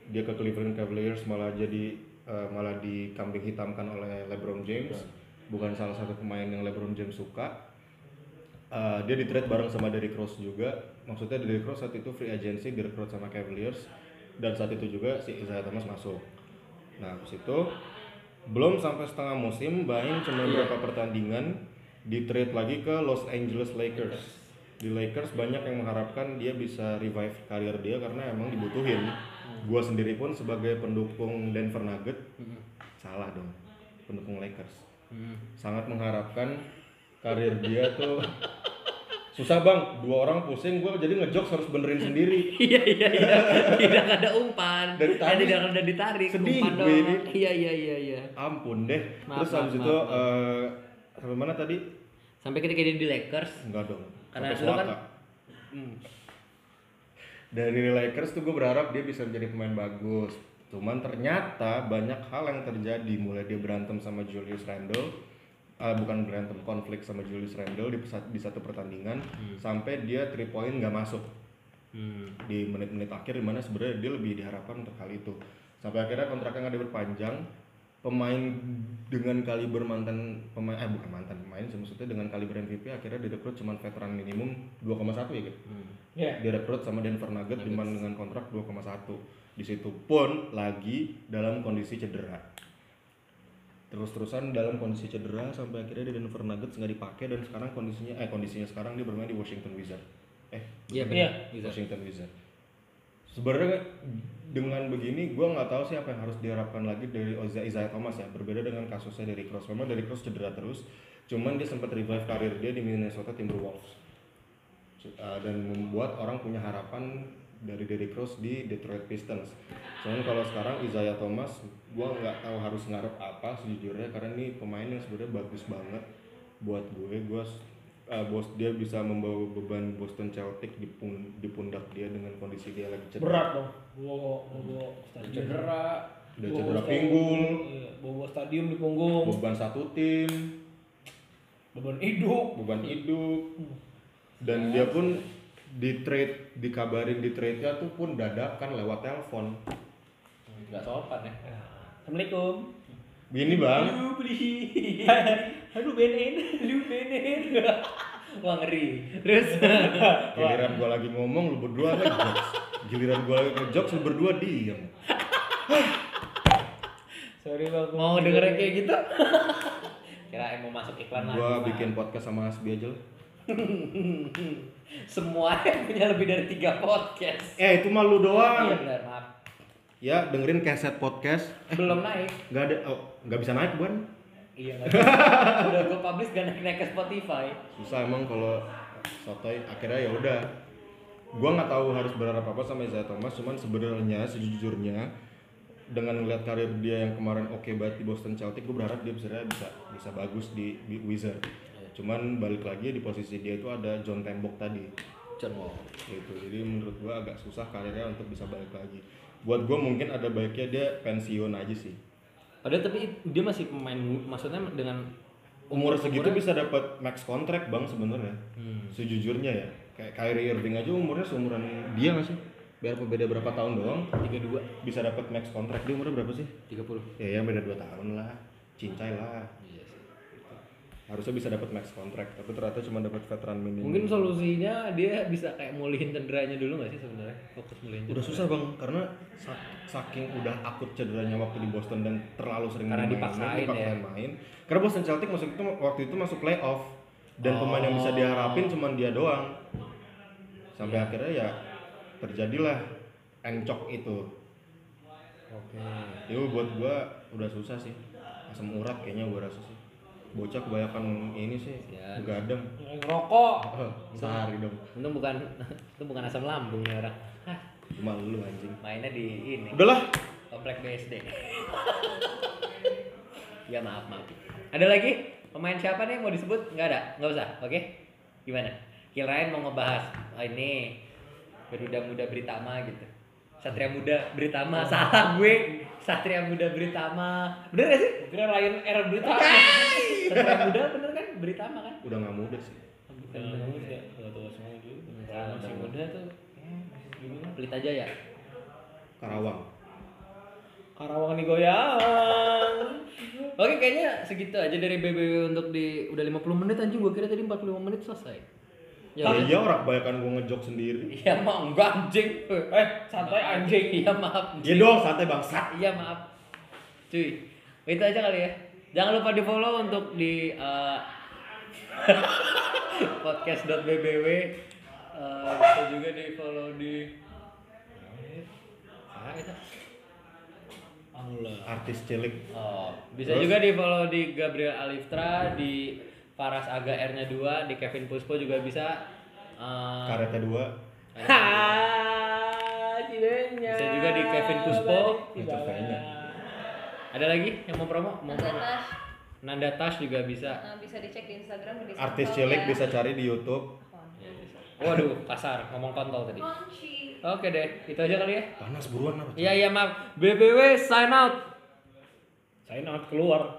[SPEAKER 1] dia ke Cleveland Cavaliers malah jadi eh, malah dikambing hitamkan oleh LeBron James bukan salah satu pemain yang LeBron James suka Eh, dia di trade bareng sama Derrick Rose juga maksudnya Derrick Rose saat itu free agency direkrut sama Cavaliers dan saat itu juga si Isaiah Thomas masuk nah habis itu belum sampai setengah musim Bain cuma beberapa pertandingan di trade lagi ke Los Angeles Lakers di Lakers banyak yang mengharapkan dia bisa revive karir dia karena emang dibutuhin gua sendiri pun sebagai pendukung Denver Nuggets salah dong pendukung Lakers
[SPEAKER 2] Hmm.
[SPEAKER 1] sangat mengharapkan karir dia tuh susah bang dua orang pusing gue jadi ngejokes harus benerin sendiri
[SPEAKER 2] Iya iya iya. Tidak ada umpan.
[SPEAKER 1] Dari
[SPEAKER 2] Eh,
[SPEAKER 1] tadi.
[SPEAKER 2] tidak ada ditarik.
[SPEAKER 1] Sedih
[SPEAKER 2] umpan
[SPEAKER 1] gue
[SPEAKER 2] doang.
[SPEAKER 1] ini.
[SPEAKER 2] Iya iya iya iya.
[SPEAKER 1] ampun deh
[SPEAKER 2] Maaf,
[SPEAKER 1] terus habis
[SPEAKER 2] maaf,
[SPEAKER 1] itu
[SPEAKER 2] maaf,
[SPEAKER 1] eh, sampai mana tadi
[SPEAKER 2] Sampai ketika dia di Lakers.
[SPEAKER 1] enggak dong
[SPEAKER 2] Karena
[SPEAKER 1] sampai
[SPEAKER 2] lu kan-
[SPEAKER 1] Suaka.
[SPEAKER 2] Hmm.
[SPEAKER 1] dari Lakers tuh gue berharap dia bisa menjadi pemain bagus cuman ternyata banyak hal yang terjadi mulai dia berantem sama Julius Randle eh, bukan berantem konflik sama Julius Randle di, pesat- di satu pertandingan
[SPEAKER 2] Hmm.
[SPEAKER 1] sampai dia three point nggak masuk di menit-menit akhir dimana sebenarnya dia lebih diharapkan untuk hal itu sampai akhirnya kontraknya nggak diperpanjang pemain dengan kaliber mantan pemain eh bukan mantan pemain sih, maksudnya dengan kaliber MVP akhirnya direkrut cuma veteran minimum 2,1 ya gitu
[SPEAKER 2] Hmm.
[SPEAKER 3] Iya.
[SPEAKER 1] direkrut sama Denver Nuggets cuma dengan kontrak 2,1 di situ pun lagi dalam kondisi cedera terus-terusan dalam kondisi cedera sampai akhirnya di Denver Nuggets nggak dipakai dan sekarang kondisinya eh kondisinya sekarang dia bermain di Washington Wizards eh
[SPEAKER 2] Iya
[SPEAKER 3] Iya.
[SPEAKER 2] benar. Bisa.
[SPEAKER 1] Washington Wizards. Sebenarnya dengan begini gue nggak tahu sih apa yang harus diharapkan lagi dari Oza Isaiah Thomas ya. Berbeda dengan kasusnya dari Cross. Memang dari Cross cedera terus. Cuman dia sempat revive karir dia di Minnesota Timberwolves. Uh, dan membuat orang punya harapan dari Derrick Rose di Detroit Pistons. Cuman kalau sekarang Isaiah Thomas, gua nggak tahu harus ngarep apa sejujurnya karena ini pemain yang sebenarnya bagus banget buat gue. Gua s- uh, bos dia bisa membawa beban Boston Celtics di, pun- di pundak dia dengan kondisi dia lagi cedera.
[SPEAKER 3] Berat dong. Bawa bawa stadion. Cedera.
[SPEAKER 1] Udah
[SPEAKER 3] bawa
[SPEAKER 1] cedera
[SPEAKER 3] stadion,
[SPEAKER 1] pinggul.
[SPEAKER 3] iya, Bawa stadium di punggung.
[SPEAKER 1] Beban satu tim,
[SPEAKER 3] Beban hidup.
[SPEAKER 1] beban hidup. Dan dia pun di trade dikabarin di trade-nya tuh pun dadakan lewat telepon.
[SPEAKER 2] Enggak sopan ya.
[SPEAKER 3] Assalamualaikum.
[SPEAKER 1] Gini bang,
[SPEAKER 2] Aduh beli. Aduh BNN, aduh BNN. Wah ngeri. Terus
[SPEAKER 1] Giliran gua lagi ngomong lu berdua ngejokes. Giliran gua lagi ngejokes lu berdua diam.
[SPEAKER 3] Sorry bang.
[SPEAKER 2] mau dengerin kayak gitu? Kirain mau masuk iklan lagi.
[SPEAKER 1] Gua
[SPEAKER 2] Mas.
[SPEAKER 1] bikin podcast sama Asbi aja lah.
[SPEAKER 2] Semua yang punya lebih dari tiga podcast.
[SPEAKER 1] Eh itu mah lu
[SPEAKER 2] Iya
[SPEAKER 1] doang.
[SPEAKER 2] benar, maaf.
[SPEAKER 1] Ya dengerin keset podcast.
[SPEAKER 2] Belum naik.
[SPEAKER 1] Gak ada, oh gak bisa naik bukan?
[SPEAKER 2] Iya nggak bisa. Udah gue publish gak naik naik ke Spotify.
[SPEAKER 1] Susah emang kalau sotoy. Akhirnya ya udah. Gua nggak tahu harus berharap apa sama Isaiah Thomas. Cuman sebenarnya sejujurnya dengan melihat karir dia yang kemarin oke banget di Boston Celtics, gue berharap dia bisa bisa bisa bagus di, di Wizard. Cuman balik lagi di posisi dia itu ada John Tembok tadi.
[SPEAKER 2] John Wall.
[SPEAKER 1] gitu jadi menurut gua agak susah karirnya untuk bisa balik lagi buat gua mungkin ada baiknya dia pensiun aja sih
[SPEAKER 2] Padahal tapi dia masih pemain mu- maksudnya dengan
[SPEAKER 1] umur segitu
[SPEAKER 2] Umurnya-
[SPEAKER 1] bisa dapat max contract bang sebenarnya
[SPEAKER 2] Hmm.
[SPEAKER 1] sejujurnya ya kayak Kyrie Irving aja umurnya seumuran dia nggak sih biar beda berapa tahun doang
[SPEAKER 2] 32,
[SPEAKER 1] bisa dapat max contract dia umurnya berapa sih
[SPEAKER 2] 30.
[SPEAKER 1] ya ya beda 2 tahun lah cincai lah
[SPEAKER 2] Iya
[SPEAKER 1] harusnya bisa dapat max contract tapi ternyata cuma dapat veteran minimum
[SPEAKER 2] Mungkin solusinya dia bisa kayak mulihin cenderanya dulu nggak sih sebenarnya? Fokus mulihin
[SPEAKER 1] udah
[SPEAKER 2] cedera.
[SPEAKER 1] susah bang karena sak- saking udah akut cederanya waktu di Boston dan terlalu sering
[SPEAKER 2] Karena
[SPEAKER 1] dimainin,
[SPEAKER 2] dipaksain ya.
[SPEAKER 1] dipaksain main karena Boston Celtics masuk itu waktu itu masuk playoff dan pemain yang
[SPEAKER 2] Oh.
[SPEAKER 1] bisa diharapin cuman dia doang sampai akhirnya ya terjadilah encok itu
[SPEAKER 2] Oke.
[SPEAKER 1] itu buat gua udah susah sih asam urat kayaknya gua rasa sih bocah kebanyakan ini sih
[SPEAKER 2] Ya.
[SPEAKER 1] begadang
[SPEAKER 3] Ngerokok.
[SPEAKER 1] Eh, sehari dong
[SPEAKER 2] Untung bukan itu bukan asam lambung ya orang. Hah,
[SPEAKER 1] cuma lu anjing
[SPEAKER 2] mainnya di ini.
[SPEAKER 1] udahlah
[SPEAKER 2] Komplek BSD. ya maaf maaf. Ada lagi pemain siapa nih yang mau disebut? Nggak ada, nggak usah. Oke? Gimana? Kirain mau ngebahas ah, ini Garuda Muda Britama gitu. Satria Muda Britama, salah gue. Satria Muda Britama. Bener gak sih?
[SPEAKER 3] Kira Lion Air berita.
[SPEAKER 2] Satria Muda bener kan? Britama kan?
[SPEAKER 1] udah nggak muda sih
[SPEAKER 3] Bukan bagus ya. Gak tau semua dulu.
[SPEAKER 2] Enggak,
[SPEAKER 3] Masih
[SPEAKER 2] enggak.
[SPEAKER 3] muda tuh. ya,
[SPEAKER 2] Eh,
[SPEAKER 3] Gini lah.
[SPEAKER 2] Pelita Jaya.
[SPEAKER 1] Karawang
[SPEAKER 3] Karawang digoyang.
[SPEAKER 2] Oke, kayaknya segitu aja dari BBW untuk di udah 50 menit anjing gua kira tadi 45 menit selesai.
[SPEAKER 1] ya, iya orang kebanyakan gua ngejok sendiri
[SPEAKER 2] Iya mah enggak anjing.
[SPEAKER 3] Eh, santai anjing.
[SPEAKER 2] Iya maaf.
[SPEAKER 1] Iya dong, santai bangsat.
[SPEAKER 2] Iya maaf. Cuy. Itu aja kali ya. Jangan lupa di-follow untuk di eh, podcast.bbw Eh, bisa juga di-follow di Ah, itu.
[SPEAKER 3] Allah.
[SPEAKER 1] Artis cilik.
[SPEAKER 2] Oh, bisa
[SPEAKER 1] Terus?
[SPEAKER 2] juga di follow di Gabriel Aliftra, di Paras Aga R-nya 2, di Kevin Puspo juga bisa. Eh,
[SPEAKER 1] Karetnya dua.
[SPEAKER 3] Ah, cidenya.
[SPEAKER 2] Bisa juga di Kevin Puspo.
[SPEAKER 1] Ngecek kayaknya.
[SPEAKER 2] ada lagi yang mau promo? Mau
[SPEAKER 5] Nanda
[SPEAKER 2] promo.
[SPEAKER 5] Tash
[SPEAKER 2] Nanda Tash juga bisa.
[SPEAKER 5] eh, bisa dicek di Instagram di
[SPEAKER 1] Artis
[SPEAKER 5] SoundCloud
[SPEAKER 1] cilik
[SPEAKER 5] ya.
[SPEAKER 1] bisa cari di YouTube.
[SPEAKER 2] Ya, bisa. Waduh, kasar ngomong kontol tadi.
[SPEAKER 5] Kunci.
[SPEAKER 2] Oke deh, itu aja kali ya.
[SPEAKER 1] Panas buruan apa?
[SPEAKER 2] Iya iya maaf. BBW sign out.
[SPEAKER 3] Saya not keluar.